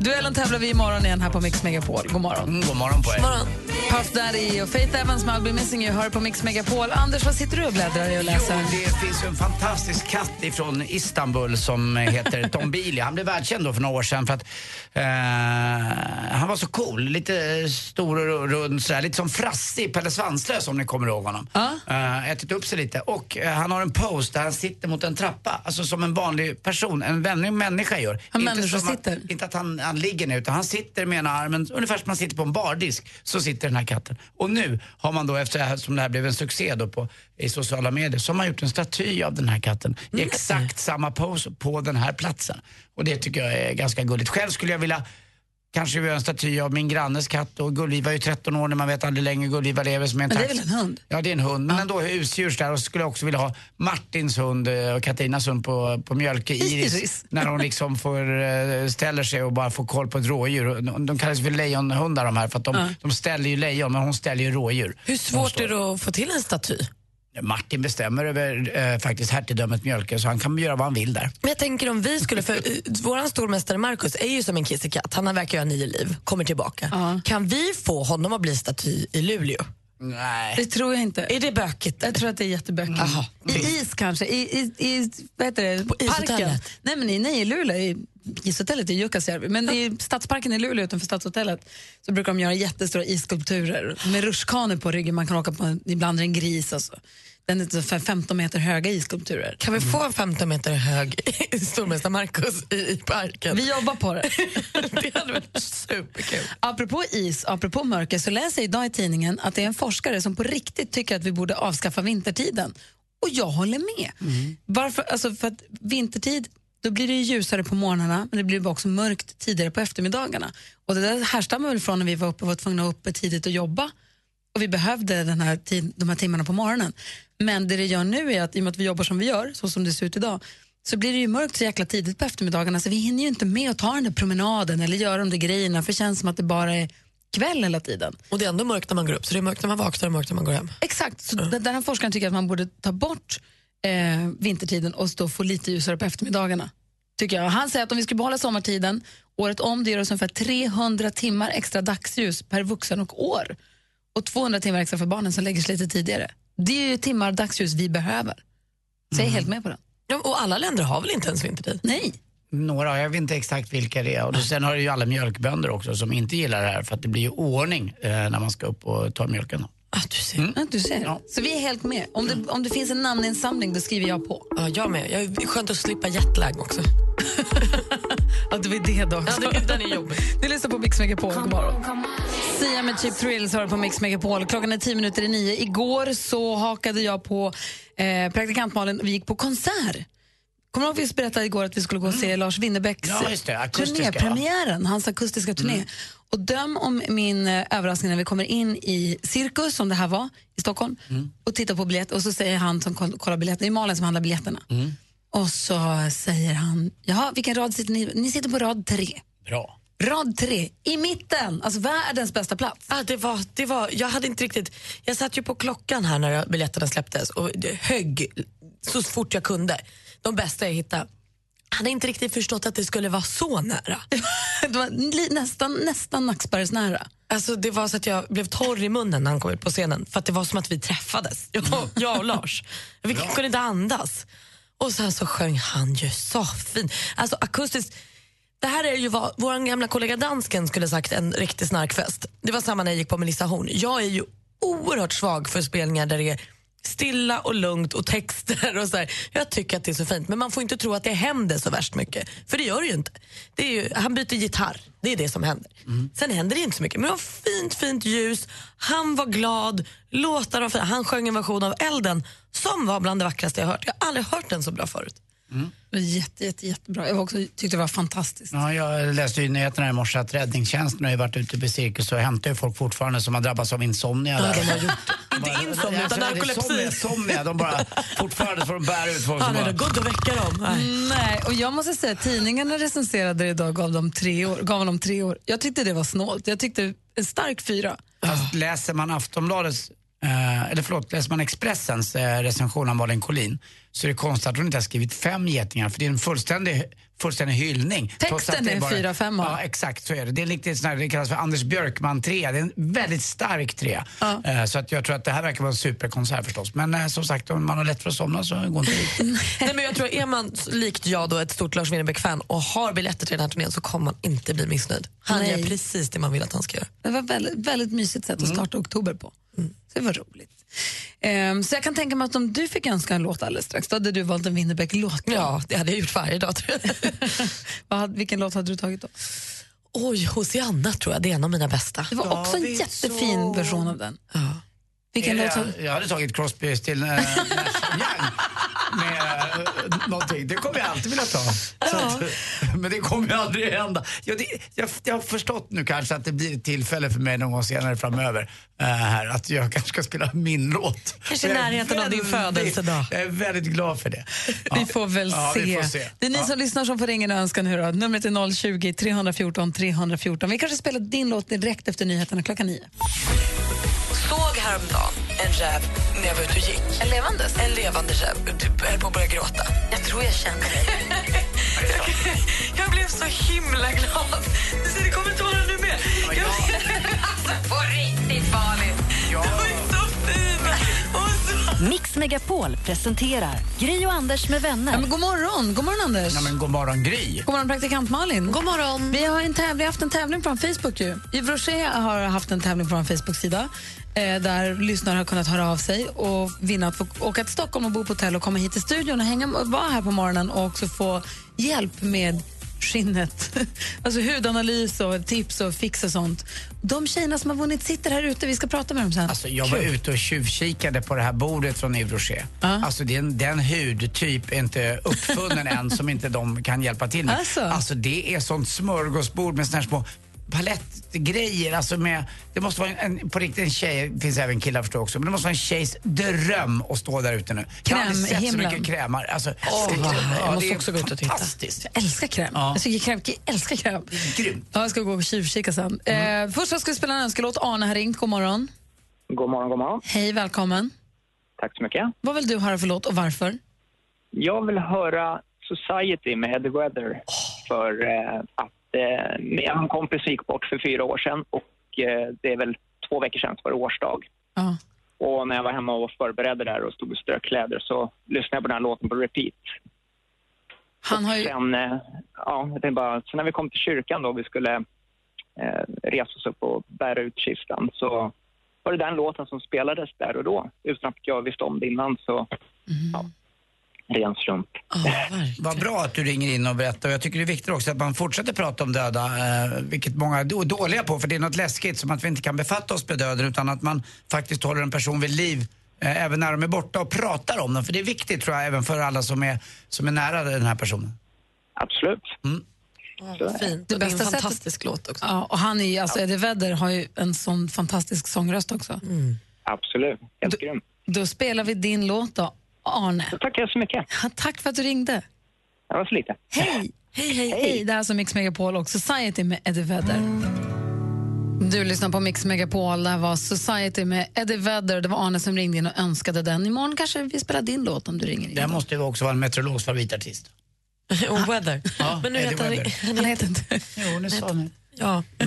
S3: Duellen tävlar vi imorgon igen här på Mix Megapol. God morgon.
S4: Mm, god morgon på er.
S2: Morgon.
S3: Puff Daddy och Faith Evans med I'll Be Missing You hör på Mix Megapol. Anders, vad sitter du och bläddrar i och läser?
S4: Jo, det finns ju en fantastisk katt ifrån Istanbul som heter Tom Billy. Han blev världskänd då för några år sedan för att eh, han var så cool. Lite stor och rund sådär. Lite som Frasse i Pelle Svanslös om ni kommer ihåg honom. Eh, ätit upp sig lite. Och eh, han har en pose där han sitter mot en trappa. Alltså som en vanlig person, en vanlig människa gör.
S3: Han
S4: Inte
S3: människa
S4: som att- Inte att han, han ligger nu utan han sitter med ena armen, ungefär som man sitter på en bardisk, så sitter den här katten. Och nu har man då, efter det här, som det här blev en succé då på, i sociala medier, så har man gjort en staty av den här katten i exakt samma pose på den här platsen. Och det tycker jag är ganska gulligt. Själv skulle jag vilja Kanske göra en staty av min grannes katt och Gulliva är ju 13 år när man vet aldrig längre Gulliva lever som en
S3: Men det är
S4: tax.
S3: väl en hund?
S4: Ja, det är en hund. Men ändå husdjurs där. Och så skulle jag också vilja ha Martins hund eh, och Katarinas hund på, på Mjölke, Iris.
S3: Iris.
S4: När hon liksom får, eh, ställer sig och bara får koll på ett rådjur. Och De, de kallas för lejonhundar de här för att de,
S2: Ja.
S4: de ställer ju lejon men hon ställer ju rådjur.
S2: Hur svårt är det att få till en staty?
S4: Martin bestämmer över eh, faktiskt hertigdömet Mjölke så han kan göra vad han vill där.
S2: Men jag tänker om vi skulle, för eh, våran stormästare Markus är ju som en kissekatt. Han verkar ju ha nio liv, kommer tillbaka. Kan vi få honom att bli staty i Luleå?
S4: Nej.
S3: Det tror jag inte.
S2: Är det bökigt?
S3: Jag tror att det är jättebökigt. I is kanske? I, i, i vad heter det? parken?
S2: Mm. ishotellet.
S3: Nej, men i, nej, i Luleå, i ishotellet i Jukkasjärvi. Men i stadsparken i Luleå utanför stadshotellet så brukar de göra jättestora isskulpturer med rutschkanor på ryggen. Man kan åka på en- ibland är det en gris. Alltså. Den är ungefär 15 meter höga isskulpturer.
S2: Kan vi få en 15 meter hög stormästare Markus i, i parken?
S3: Vi jobbar på det.
S2: det hade varit superkul.
S3: Apropå is, apropå mörker, så läser jag idag i tidningen att det är en forskare som på riktigt tycker att vi borde avskaffa vintertiden. Och jag håller med.
S2: Mm.
S3: Varför? Alltså för att vintertid, då blir det ju ljusare på morgnarna men det blir också mörkt tidigare på eftermiddagarna. Och det där härstammar väl från när vi var uppe och var tvungna att vara uppe tidigt och jobba och vi behövde den här tid, de här timmarna på morgonen. Men det det gör nu är att i och med att vi jobbar som vi gör, så som det ser ut idag, så blir det ju mörkt så jäkla tidigt på eftermiddagarna så vi hinner ju inte med att ta den där promenaden eller göra de där grejerna för det känns som att det bara är kväll hela tiden.
S2: Och det är ändå mörkt när man går upp, så det är mörkt när man vaknar och mörkt när man går hem.
S3: Exakt, så d- den här forskaren tycker att man borde ta bort eh, vintertiden och stå få lite ljusare på eftermiddagarna. Tycker jag. Han säger att om vi skulle behålla sommartiden året om, det ger oss ungefär 300 timmar extra dagsljus per vuxen och år. Och 200 timmar extra för barnen som lägger sig lite tidigare. Det är ju timmar dagsljus vi behöver. Så jag är helt med på den.
S2: Ja, och alla länder har väl inte ens vintertid?
S3: Nej.
S4: Några, jag vet inte exakt vilka det är. Och då, sen har du ju alla mjölkbönder också som inte gillar det här för att det blir ju oordning eh, när man ska upp och ta mjölken.
S2: Ah, du ser.
S3: Ja, du ser. Så vi är helt med. Om det, om det finns en namninsamling, då skriver jag på.
S2: Ja, jag med. Jag är skönt att slippa jetlag också.
S3: Att det var det då
S2: Ja, det, den är jobbig.
S3: Ni lyssnar på Mix Megapol. God morgon. Sia med Cheap Thrills hör på Mix Megapol. Klockan är tio minuter i nio. Igår så hakade jag på eh, praktikant Malin och vi gick på konsert. Kommer du ihåg att vi berättade igår att vi skulle gå och se Lars Winnerbäcks
S4: Mm. Ja, just det. Akustiska, Mm.
S3: turné, premiären, hans akustiska turné. Och döm om min eh, överraskning när vi kommer in i Cirkus, som det här var, i Stockholm och tittar på biljett och så säger han som koll- kollar biljetterna, det är Malin som handlar biljetterna. Och så säger han, jaha, vilken rad sitter ni Ni sitter på rad tre.
S4: Bra.
S3: Rad tre, i mitten, alltså världens bästa plats.
S2: Ja, det var, det var, jag hade inte riktigt... Jag satt ju på klockan här när jag- biljetterna släpptes och det högg så fort jag kunde. De bästa jag hittade. Jag hade inte riktigt förstått att det skulle vara så nära.
S3: det var li- nästan, nästan Nacksbergsnära.
S2: Alltså, det var så att jag blev torr i munnen när han kom ut på scenen. För att det var som att vi träffades, jag,
S3: Mm.
S2: jag och Lars. Jag fick, kunde inte andas. Och sen så sjöng han ju så fint. Alltså akustiskt. Det här är ju vad vår gamla kollega dansken skulle ha sagt, en riktig snarkfest. Det var samma när jag gick på Melissa Horn. Jag är ju oerhört svag för spelningar där det är stilla och lugnt och texter. och så här. Jag tycker att det är så fint, men man får inte tro att det händer så värst mycket. För det gör det ju inte. Det är ju, han byter gitarr, det är det som händer. Sen händer det inte så mycket. Men det var fint, fint ljus, han var glad, låtar var fina. Han sjöng en version av Elden som var bland det vackraste jag hört. Jag har aldrig hört den så bra förut.
S3: Jätte, jätte, jättebra. Jag var också, tyckte det var fantastiskt.
S4: Ja, jag läste ju i nyheterna i morse att räddningstjänsten har ju varit ute på cirkus och hämtar ju folk fortfarande som har drabbats av insomnia.
S2: Ja,
S4: där.
S2: de har gjort-
S4: Bara-
S2: inte insomnia,
S4: Nej,
S2: utan
S4: det är
S2: narkolepsi.
S4: Somnia, somnia. De bara, fortfarande får de bära ut folk
S2: Han
S4: som
S2: är
S4: bara...
S2: det gott att väcka dem. Nej.
S3: Nej, och jag måste säga att tidningarna recenserade det idag och gav dem tre år. Gav dem tre år. Jag tyckte det var snålt. Jag tyckte en stark fyra.
S4: Fast Alltså, läser man Aftonbladets, eh, eller förlåt, läser man Expressens eh, recension av Malin Collin så är det konstigt att hon inte har skrivit fem getingar för det är en fullständig, fullständig hyllning.
S3: Texten
S4: trots att det
S3: är
S4: bara-
S3: fyra femmor.
S4: Ja, exakt så är det. Det är riktigt sån här, det kallas för Anders Björkman-trea. Det är en väldigt stark trea. Eh, så att jag tror att det här verkar vara en superkonsert förstås. Men eh, som sagt, om man har lätt för att somna så går inte det.
S2: Nej, men jag tror är man s- likt jag då ett stort Lars Winnerbäck-fan och har biljetter till den här turnén så kommer man inte bli missnöjd. Han
S3: Nej.
S2: gör precis det man vill att han ska göra.
S3: Det var väldigt, väldigt mysigt sätt att
S2: Mm.
S3: starta oktober på. Så det var roligt. Ehm, så jag kan tänka mig att om du fick önska en låt alldeles strax, då hade du valt en Winnerbäck-låt.
S2: Ja, det hade jag gjort varje dag tror jag.
S3: Vad hade- Vilken låt hade du tagit då?
S2: Oj, Hosianna tror jag, det är en av mina bästa.
S3: Det var också en jättefin version av den. Vilken
S4: Eh,
S3: låt har-
S4: Jag hade tagit Crosby, Still eh, Nash Young med eh, någonting. Det kommer jag alltid vilja ta. Så att, men det kommer ju aldrig hända. Jag, det, jag, jag har förstått nu kanske att det blir ett tillfälle för mig någon gång senare framöver eh, här, att jag kanske ska spela min låt.
S2: Kanske i
S4: Jag är
S2: närheten av din
S4: väldigt-
S2: födelsedag.
S4: Jag är väldigt glad för det.
S3: Vi får väl
S4: Ja,
S3: se.
S4: vi får se.
S3: Det är ni som lyssnar som får ringa en önskan. Hur då? Numret är 020-314 314. Vi kanske spelar din låt direkt efter nyheterna klockan nio.
S2: Såg häromdagen en räv när jag var ute och gick. En levandes? En levande räv. Du höll på att börja gråta. Jag tror jag känner dig. jag blev så himla glad. Du ser, det kommer inte vara nu mer. Jag... alltså, på riktigt farligt. Ja. Det var ju så fint.
S1: Mix Megapol presenterar Gri och Anders med vänner.
S3: Ja, men god morgon, god morgon Anders.
S4: Ja, men god morgon Gry.
S3: God morgon praktikant Malin. God morgon. Vi har en tävling, vi har haft en tävling på vår Facebook. Ju. Yves Rocher har haft en tävling på vår Facebook-sida eh, där lyssnare har kunnat höra av sig och vinna att få åka till Stockholm och bo på hotell och komma hit till studion och hänga, vara här på morgonen och också få hjälp med skinnet. alltså hudanalys och tips och fix och sånt. De tjejerna som har vunnit sitter här ute, vi ska prata med dem sen.
S4: Alltså, jag var ute och tjuvkikade på det här bordet från Yves Rocher. Alltså den, den hudtyp är inte uppfunnen än som inte de kan hjälpa till med.
S3: Alltså.
S4: det är sånt smörgåsbord med såna här små palettgrejer. Alltså med, det måste vara en, en, på riktigt en tjej, det finns även killar förstår jag också, men det måste vara en tjejs dröm att stå där ute nu. Jag har aldrig sett så
S3: Krämhimlen.
S4: mycket krämar. Alltså,
S3: Åh,
S4: det-
S3: vad härligt.
S4: ja,
S3: Jag måste
S4: det är
S3: också gå ut och titta.
S4: fantastiskt.
S3: Jag älskar kräm. Alltså, Jag tycker kräm, jag älskar kräm.
S4: Grymt. Mm.
S3: Ja, jag ska gå och tjuvkika sen. Eh, först så ska vi spela en önskelåt. Arne har ringt. God morgon.
S6: God morgon, god morgon.
S3: Hej, välkommen.
S6: Tack så mycket.
S3: Vad vill du höra för låt och varför?
S6: Jag vill höra Society med Heather Weather. För eh, att eh, min kompis gick bort för fyra år sedan och eh, det är väl två veckor sedan så var det årsdag.
S3: Ja.
S6: Och när jag var hemma och var förberedd där och stod i strökläder så lyssnade jag på den här låten på repeat.
S3: Han har ju...
S6: Sen, eh, ja, jag tänkte bara, sen när vi kom till kyrkan då vi skulle eh, resa oss upp och bära ut kistan så var det den låten som spelades där och då. Utan att jag visste om det innan så
S3: Mhm.
S6: ren slump.
S4: Vad bra att du ringer in och berättar. Och jag tycker det är viktigt också att man fortsätter prata om döda, eh, vilket många är då- dåliga på, för det är något läskigt som att vi inte kan befatta oss med döden, utan att man faktiskt håller en person vid liv eh, även när de är borta och pratar om den. För det är viktigt tror jag, även för alla som är, som är nära den här personen.
S6: Absolut.
S4: Mm.
S2: Fint.
S3: Det
S2: Det, det är en
S3: bästa sättet-
S2: fantastisk låt också.
S3: Ja, och han är ju, alltså Eddie Vedder har ju en sån fantastisk sångröst också.
S2: Mm.
S6: Absolut. Helt grym.
S3: Då spelar vi din låt då, Arne.
S6: Tackar så mycket.
S3: Ja, tack för att du ringde.
S6: Det var så lite.
S3: Hej! Hej, hej, hej. Det här är alltså Mix Megapol och Society med Eddie Vedder. Du lyssnar på Mix Megapol. Det här var Society med Eddie Vedder. Det var Arne som ringde in och önskade den. Imorgon kanske vi spelar din låt om du ringer in.
S4: Det här måste ju också vara en meteorologs favoritartist.
S2: Och Weather. Men nu
S4: Eddie
S2: heter
S4: Ah, Weather.
S2: han...
S3: Han heter inte...
S4: Jo, nu sa ni.
S2: Ja.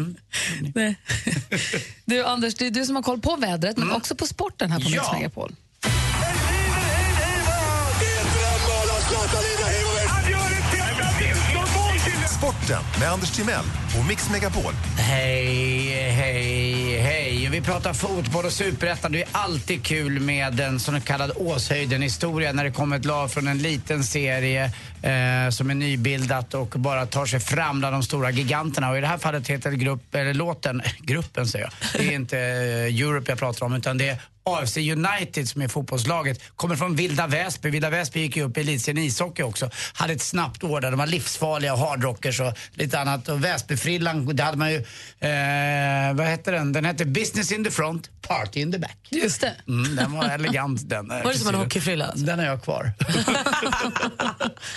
S3: Nej. Du, Anders, det är du som har koll på vädret, men
S4: Mm.
S3: också på sporten här på Mix
S19: Ja.
S3: Megapol.
S9: Sporten med Anders Timell och Mix Megapol.
S4: Hej, hej, hej. vi pratar fotboll och superettan. Det är alltid kul med en så kallad Åshöjden-historia när det kommer ett lag från en liten serie eh, som är nybildat och bara tar sig fram bland de stora giganterna. Och i det här fallet heter grupp, eller låten, gruppen säger jag, det är inte eh, Europe jag pratar om utan det är AFC United som är fotbollslaget, kommer från Vilda Väsby. Vilda Väsby gick ju upp i elitserien i ishockey också. Hade ett snabbt år där de var livsfarliga hardrockers och lite annat. Och Väsbyfrillan, det hade man ju, eh, vad hette den? Den hette Business in the front, party in the back.
S2: Just det.
S4: Mm, den var elegant den. eh,
S2: Var det som en
S4: frisyren.
S2: hockeyfrilla? Alltså?
S4: Den har jag kvar.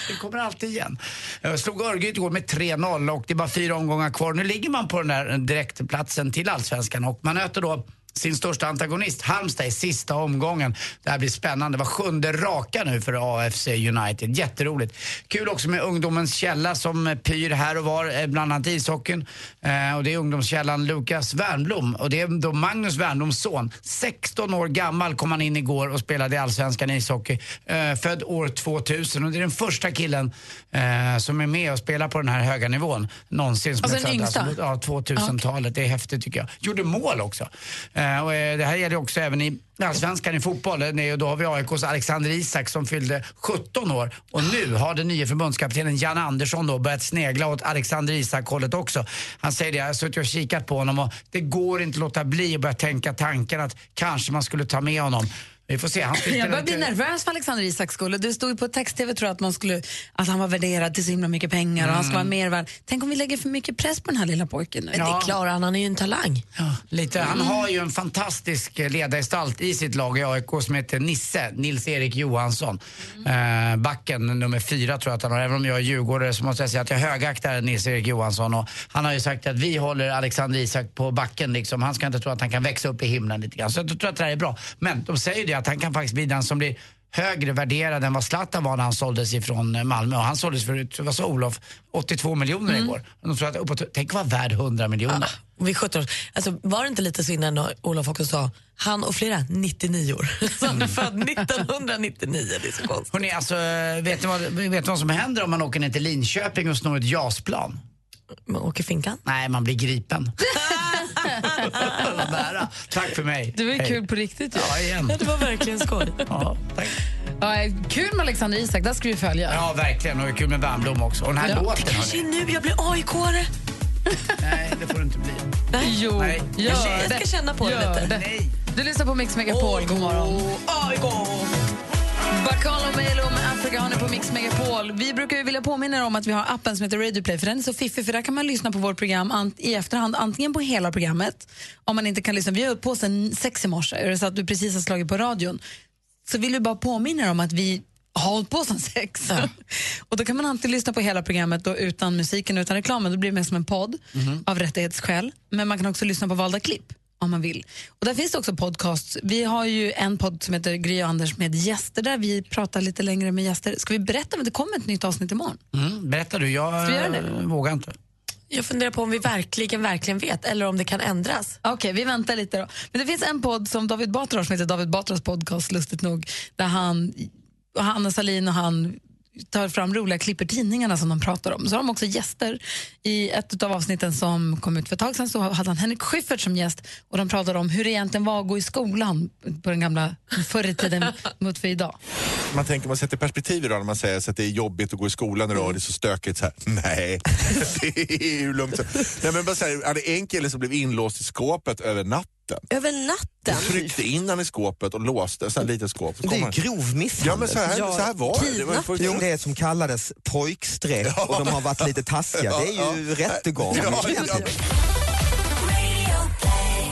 S4: det kommer alltid igen. Jag slog Örgryte igår med 3-0 och det är bara fyra omgångar kvar. Nu ligger man på den där direktplatsen till allsvenskan och man möter då sin största antagonist, Halmstad, i sista omgången. Det här blir spännande. Det var sjunde raka nu för AFC United. Jätteroligt. Kul också med Ungdomens källa som eh, pyr här och var, eh, bland annat i ishockeyn. Eh, och det är Ungdomskällan Lukas Wernbloom och det är då Magnus Wernbloms son. 16 år gammal kom han in igår och spelade i Allsvenskan i ishockey. Eh, född år 2000 och det är den första killen eh, som är med och spelar på den här höga nivån någonsin. Som
S2: Alltså
S4: är
S2: den
S4: född,
S2: yngsta?
S4: Alltså, ja, 2000-talet. Det är häftigt tycker jag. Gjorde mål också. Eh, och, eh, det här gäller också även i Allsvenskan i fotboll. Det är- och Då har vi AIKs Alexander Isak som fyllde 17 år och nu har den nya förbundskaptenen Jan Andersson då börjat snegla åt Alexander Isak-hållet också. Han säger det, jag har suttit och kikat på honom och det går inte att låta bli att börja tänka tanken att kanske man skulle ta med honom. Vi får se. Han skulle
S2: Jag
S4: spela
S2: börjar bli
S4: lite-
S2: nervös för Alexander Isak skull. Det stod ju på text-tv tror jag, att, man skulle, att han var värderad till så himla mycket pengar och han ska vara
S4: Mm.
S2: mer värd. Tänk om vi lägger för mycket press på den här lilla pojken nu.
S4: Ja.
S2: Det klarar han, han är ju en talang.
S4: Lite. Han har ju en fantastisk eh, ledargestalt i sitt lag i AIK som heter Nisse, Nils-Erik Johansson. Eh, backen nummer fyra tror jag att han har. Även om jag är djurgårdare så måste jag säga att jag högaktar Nils-Erik Johansson. Och han har ju sagt att vi håller Alexander Isak på backen liksom. Han ska inte tro att han kan växa upp i himlen lite grann. Så jag tror att det här är bra. Men de säger ju det att han kan faktiskt bli den som blir högre värderad än vad Zlatan var när han såldes ifrån eh, Malmö. Och han såldes för, vad sa Olof, 82 miljoner igår. De tror att, uppåt, tänk vad värd 100 miljoner.
S2: Och vi 17 år. Alltså, var det inte lite så innan när Olof också sa han och flera 99 år? Så han är född 1999, det är så konstigt.
S4: Mm. Hörrni, alltså, vet, ni vad, vet ni vad som händer om man åker ner till Linköping och snor ett JAS-plan?
S2: Man åker finkan?
S4: Nej, man blir gripen. Vad nära. Tack för mig.
S3: Det var ju
S4: Hej.
S3: kul på riktigt. ju.
S4: Ja, igen.
S2: Det var verkligen skoj.
S4: Ja,
S3: Ja, kul med Alexander Isak, där ska vi följa.
S4: ja, verkligen. Och det är kul med Värmblom också. Och den här
S3: Ja.
S4: låten, hörni.
S2: nu jag blir AIK-are.
S4: Nej, det får du inte bli.
S2: Nej.
S3: Jo,
S4: Nej.
S3: gör
S2: Jag ska- jag ska
S3: det.
S2: känna på det
S3: Gör
S2: lite.
S4: Nej.
S3: Du lyssnar på Mix Megapol, god morgon.
S2: AIK!
S3: Bacalo Melo med Afrika har ni på Mix Megapol. Vi brukar ju vilja påminna er om att vi har appen som heter Radio Play för den är så fiffig för där kan man lyssna på vårt program ant- i efterhand antingen på hela programmet om man inte kan lyssna. Vi har hållit på sedan sex i morse, är det så att du precis har slagit på radion så vill vi bara påminna er om att vi har hållit på sedan sex. Och då kan man antingen lyssna på hela programmet då, utan musiken och utan reklamen, då blir det mer som en podd av rättighetsskäl. Men man kan också lyssna på valda klipp om man vill. Och där finns det också podcasts. Vi har ju en podd som heter Gry och Anders med gäster där vi pratar lite längre med gäster. Ska vi berätta om att det kommer ett nytt avsnitt imorgon?
S4: Mm, berätta du, jag
S3: vi göra det?
S4: eh, vågar inte.
S2: Jag funderar på om vi verkligen, verkligen vet eller om det kan ändras.
S3: Okej, vi väntar lite då. Men det finns en podd som David Batra har som heter David Batras podcast, lustigt nog, där han, och Hanna Salin och han tar fram roliga klipp ur tidningarna som de pratar om. Så har de också gäster. I ett av avsnitten som kom ut för ett tag sedan så hade han Henrik Schyffert som gäst och de pratade om hur det egentligen var att gå i skolan på den gamla, förr i tiden mot för idag.
S9: Man tänker, man sätter perspektiv idag när man säger så att det är jobbigt att gå i skolan idag och det är så stökigt så här. Nej, det är ju lugnt. så. Nej, men bara så här, jag hade en kille som blev inlåst i skåpet över natten.
S2: Över natten?
S9: Och tryckte in han i skåpet och låste, så här litet skåp. Så
S10: Det
S9: kom
S10: är
S9: han-
S10: grov misshandel.
S9: Ja, men så här, så här var det. det. var ju först-
S10: Jo, det är som kallades pojkstreck och de har varit lite taskiga. Det är ju rättegång.
S9: Ja, ja.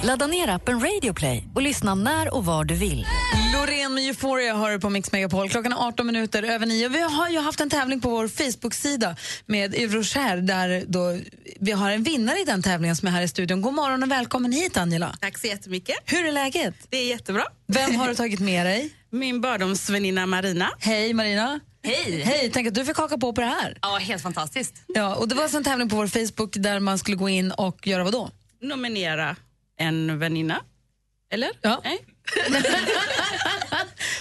S1: Ladda ner appen Radio Play och lyssna när och var du vill.
S3: Loreen med Euphoria har du på Mix Megapol. Klockan är 18 minuter över 9. Vi har ju haft en tävling på vår Facebook-sida med Euroshare där då vi har en vinnare i den tävlingen som är här i studion. God morgon och välkommen hit Angela.
S11: Tack så jättemycket.
S3: Hur är läget?
S11: Det är jättebra.
S3: Vem har du tagit med dig?
S11: Min barndomsväninna Marina.
S3: Hej Marina.
S11: Hej.
S3: Hej, tänk att du fick haka på på det här.
S11: Ja, helt fantastiskt.
S3: Ja, och det var alltså en tävling på vår Facebook där man skulle gå in och göra vad då?
S11: Nominera en väninna. Eller?
S3: Ja.
S11: Nej.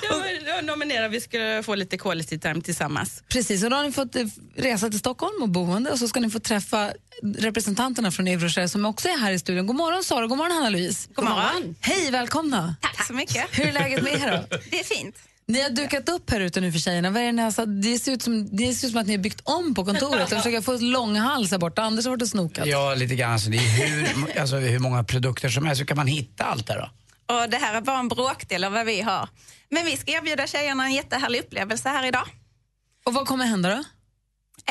S11: Ja, men Jag nominerar vi skulle få lite quality time tillsammans.
S3: Precis, och då har ni fått eh, resa till Stockholm och boende och så ska ni få träffa representanterna från Euroshare som också är här i studion. God morgon Sara, god morgon Hanna-Louise.
S20: God morgon.
S3: Hej, välkomna.
S20: Tack så mycket.
S3: Hur är läget med er då?
S20: Det är fint.
S3: Ni har dukat upp här ute nu för tjejerna. Vad är det, ni har satt? det, ser ut som, det ser ut som att ni har byggt om på kontoret och försöker få ett långhals här borta. Anders har varit och snokat.
S4: Ja, lite grann. Så det är hur, alltså, hur många produkter som helst. Hur kan man hitta allt det då?
S20: Och det här är bara en bråkdel av vad vi har. Men vi ska erbjuda tjejerna en jättehärlig upplevelse här idag.
S3: Och vad kommer hända då?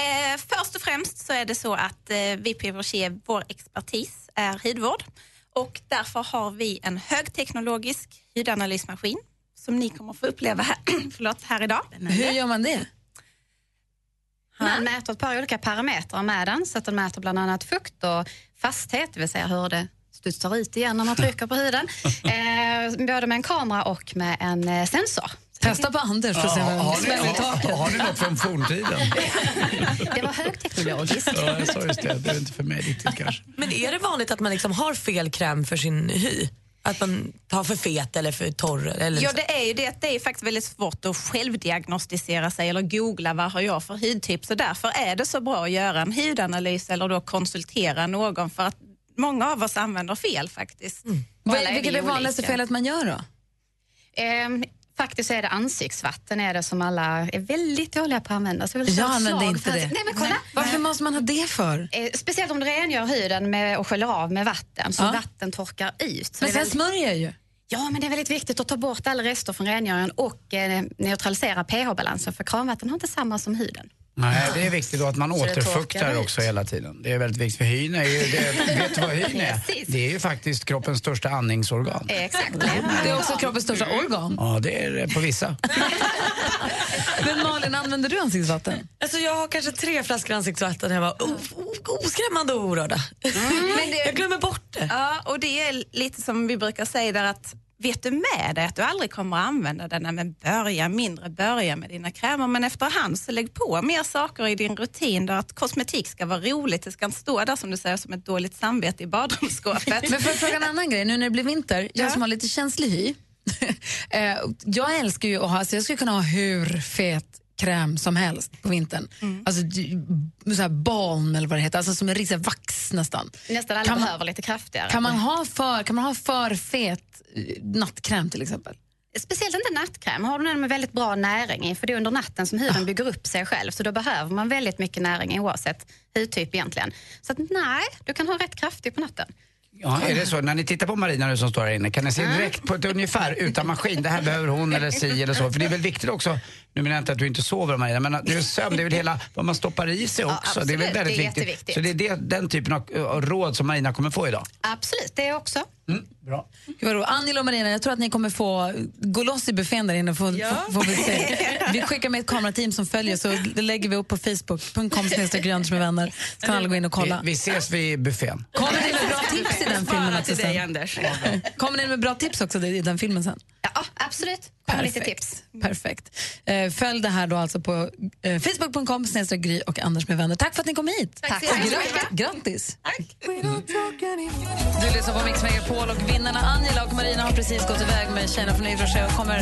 S20: Eh, först och främst så är det så att eh, vi på Evoche, vår expertis är hudvård och därför har vi en högteknologisk hydanalysmaskin som ni kommer få uppleva här, förlåt, här idag.
S3: Hur gör man det?
S20: Nej.
S27: Han mäter ett par olika parametrar med den, så att den mäter bland annat fukt och fasthet, det vill säga hur det studsar ut igen när man trycker på huden. Eh, både med en kamera och med en eh, sensor.
S3: Testa på Anders
S4: Ja, har, ni, har, har ni något från forntiden?
S27: Det var högteknologiskt.
S4: Ja, jag sa just det. Det är inte för mig riktigt kanske.
S2: Men är det vanligt att man liksom har fel kräm för sin hy? Att man tar för fet eller för torr? Eller
S20: Ja,
S2: så?
S20: det är ju det. Det är faktiskt väldigt svårt att självdiagnostisera sig eller googla vad har jag för hudtyp. Så därför är det så bra att göra en hudanalys eller då konsultera någon för att många av oss använder fel faktiskt.
S3: Mm. Vad,
S27: Alla är
S3: vilket
S27: vi
S3: är det vanligaste
S27: olika.
S3: felet man gör då?
S27: Ehm, faktiskt så är det ansiktsvatten är det som alla är väldigt dåliga på att använda. Så jag vill slå
S3: Jag
S27: ett
S3: använder
S27: slag
S3: inte
S27: för-
S3: det.
S27: Nej, men kolla.
S3: Varför måste man ha det för?
S27: Eh, Speciellt om du rengör huden med, och sköljer av med vatten så
S3: Ja.
S27: vatten torkar ut. Så
S3: Men
S27: det är
S3: sen smörjer jag ju.
S27: Ja, men det är väldigt viktigt att ta bort alla rester från rengöringen och eh, neutralisera pH-balansen för kranvatten har inte samma som huden.
S4: Nej, det är viktigt då att man
S27: Så det
S4: återfuktar
S27: torkar ut.
S4: också hela tiden. Det är väldigt viktigt för hyn är ju, det, vet du vad hyn är?
S27: Precis.
S4: Det är ju faktiskt kroppens största andningsorgan.
S27: Eh, Exakt.
S3: Det är också kroppens största organ.
S4: Ja, det är det på vissa.
S3: Men Malin, använder du ansiktsvatten?
S2: Alltså jag har kanske tre flaskor ansiktsvatten hemma. Oh, oh, oskrämmande och orörda.
S20: Men det, jag
S2: Mm. glömmer bort det.
S20: Ja, och det är lite som vi brukar säga där att vet du med dig att du aldrig kommer att använda den, nej, men börja mindre, börja med dina krämer, men efterhand så lägg på mer saker i din rutin där att kosmetik ska vara roligt, det ska inte stå där som du säger som ett dåligt samvete i badrumsskåpet.
S3: Men för att fråga en annan grej, nu när det blir vinter, jag som har lite känslig hy. eh, jag älskar ju att ha, alltså jag skulle kunna ha hur fet kräm som helst på vintern.
S27: Mm.
S3: Alltså d- så här balm eller vad det heter, alltså som en riktig vax nästan.
S27: Nästan alla
S3: Kan man-
S27: behöver lite kraftigare. Mm.
S3: Kan man ha för, kan man ha för fet eh, nattkräm till exempel?
S27: Speciellt inte nattkräm. Har du den med väldigt bra näring i, för det är under natten som huden bygger upp sig själv. Så då behöver man väldigt mycket näring oavsett hudtyp egentligen. Så att, nej, du kan ha rätt kraftig på natten.
S4: Ja, är det så? När ni tittar på Marina nu som står här inne, kan ni se direkt på ett ungefär utan maskin, det här behöver hon eller si eller så? För det är väl viktigt också, nu menar jag inte att du inte sover Marina, men att- nu är sömn, det är väl hela vad man stoppar i sig
S27: Ja,
S4: också. det är väl
S27: absolut.
S4: väldigt
S27: Det är
S4: viktigt.
S27: jätteviktigt.
S4: Så det är det, den typen av av råd som Marina kommer få idag.
S27: Absolut, det också.
S4: Mm, Bra.
S3: Gud vad roligt. Angela och Marina, jag tror att ni kommer få gå loss i buffén där inne. och Få, få, få vi, se. vi skickar med ett kamerateam som följer så det lägger vi upp på facebook.com snedstreck Anders med vänner. Så kan alla gå in och kolla.
S4: Vi, vi ses vid buffén.
S3: Kommer ni med bra tips i den filmen
S11: Bara
S3: också
S11: till dig,
S3: sen?
S11: Anders.
S3: Kommer ni med bra tips också i den filmen sen?
S27: Ja, absolut. Kom med lite tips. Mm.
S3: Perfekt. Eh, Följ det här då alltså på eh, facebook.com snedstreck Gry och Anders med vänner. Tack för att ni kom hit.
S27: Tack så
S3: Och
S27: mycket.
S3: gratt- Grattis. Du lyssnar på Mix Megapol och vinnarna Angela och Marina har precis gått iväg med tjejerna från Idrottsjö och kommer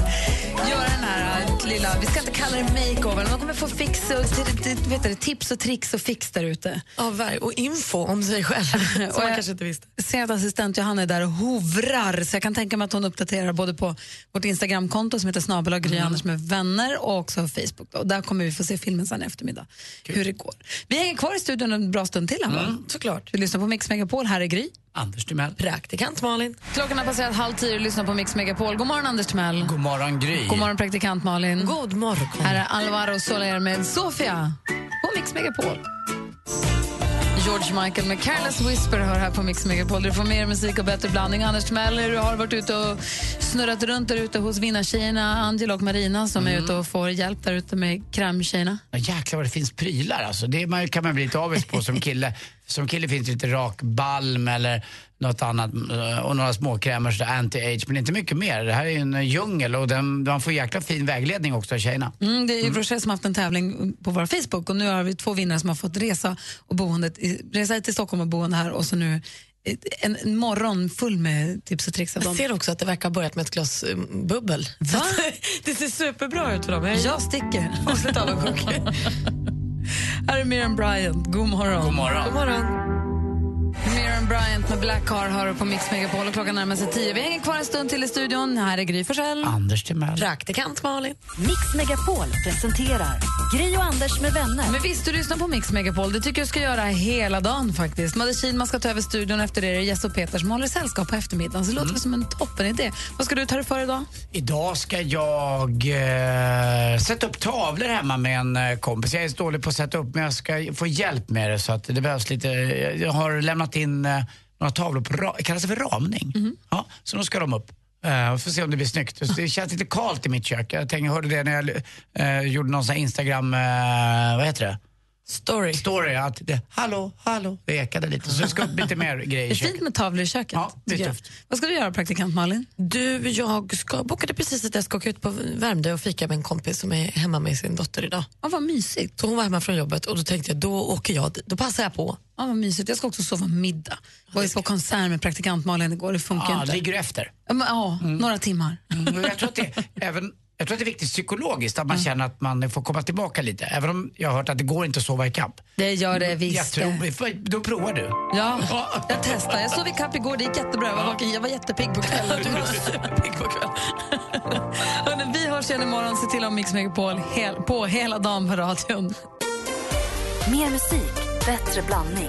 S3: göra den här eh, lilla, vi ska inte kalla det makeover, men de kommer få fix och, t- t- vet du, tips och tricks och fix där ute.
S2: Ja, ver- och info om sig själv som
S3: Och
S2: man
S3: jag-
S2: kanske inte visste.
S3: ser att assistent Johanna är där och hovrar så jag kan tänka mig att hon uppdaterar både på vårt Instagramkonto som heter snabel och Gry Anders med vänner och också Facebook. Då. Och där kommer vi få se filmen sen i eftermiddag, hur det går. Vi hänger kvar i studion en bra stund till här, va?
S2: Såklart.
S3: Vi lyssnar på Mix Megapol, här är Gry.
S4: Anders Timell.
S2: Praktikant Malin.
S3: Klockan har passerat halv tio och lyssnar på Mix Megapol. God morgon Anders Timell.
S4: God morgon Gry.
S3: God morgon praktikant Malin.
S2: God morgon.
S3: Här är Alvaro Soler med Sofia på Mix Megapol. George Michael med Careless Whisper hör här på Mix Megapol. Du får mer musik och bättre blandning. Anders Timell, du har varit ute och snurrat runt där ute hos vinnartjejerna Angela och Marina som är ute och får hjälp där ute med krämtjejerna.
S4: Ja, jäklar vad det finns prylar alltså. Det man, kan man bli lite avis på som kille. Som kille finns det lite rak balm eller något annat eh, och några småkrämer sådär anti-age. Men inte mycket mer. Det här är ju en djungel och den, man får jäkla fin vägledning också av tjejerna.
S3: Mm, det är ju Rochelle som har haft en tävling på vår Facebook och nu har vi två vinnare som har fått resa, och boendet, i- resa till Stockholm och boende här och så nu en, en morgon full med tips och tricks av dem.
S2: Jag ser också att det verkar ha börjat med ett glas eh, bubbel. Va? det ser superbra ut för dem. Jag, jag sticker. Avslut avundsjuk.
S3: Här är Miriam Bryant. God morgon.
S2: God morgon.
S3: God morgon. Miriam Bryant med Black Car hör du på Mix Megapol och klockan närmar sig tio. Vi hänger kvar en stund till i studion. Här är Gry Forssell.
S2: Ah.
S4: Anders Timell.
S2: Praktikant Malin.
S24: Mix Megapol presenterar Gri och Anders med vänner.
S3: Men visst, du lyssnar på Mix Megapol. Det tycker jag ska göra hela dagen faktiskt. Madde Kihlman ska ta över studion efter det. är det Jess och Peter som håller sällskap på eftermiddagen. Så det
S2: Mm.
S3: låter som en toppenidé. Vad ska du ta dig för idag?
S4: Idag ska jag eh, sätta upp tavlor hemma med en eh, kompis. Jag är så dålig på att sätta upp men jag ska få hjälp med det så att det behövs lite. Eh, Jag jag har lämnat in eh, några tavlor på ra- kallas det för ramning?
S3: Mhm.
S4: Ja, så nu ska de upp. Uh, får se om det blir snyggt. Så Det känns lite kallt i mitt kök. Jag, tänkte, jag hörde det när jag eh, gjorde någon sån här Instagram, eh, vad heter det?
S2: Story.
S4: Story, att det, hallå, hallå, det ekade lite. Så det ska upp lite mer grejer
S3: Det
S4: i
S3: är
S4: köket.
S3: fint med tavlor i köket.
S4: Ja, det är
S3: tycker jag.
S4: tufft.
S3: Vad ska du göra, praktikant Malin?
S2: Du, jag ska, bokade precis att jag ska åka ut på Värmdö och fika med en kompis som är hemma med sin dotter idag.
S3: Ja, vad mysigt.
S2: Så hon var hemma från jobbet och då tänkte jag, då åker jag dit. Då passar jag på.
S3: Ja, vad mysigt. Jag ska också sova middag. Jag var ju på konsert med praktikant Malin igår. Det funkar
S4: Ja,
S3: inte.
S4: ligger du efter?
S3: Ja, men, ja några timmar.
S4: Mm. Men jag tror att det även jag tror att det är viktigt psykologiskt att man
S3: Mm.
S4: känner att man får komma tillbaka lite. Även om jag har hört att det går inte att sova ikapp.
S3: Det gör det visst.
S4: Jag tror, då provar du.
S3: Ja, jag testar. Jag sov ikapp igår, det gick jättebra. Jag var, vaken. jag var jättepigg på kvällen. Du var superpigg på kvällen. Hörrni, vi hörs igen imorgon. Se till att ha Mix Megapol hel, på hela dagen på radion.
S24: Mer musik, bättre blandning.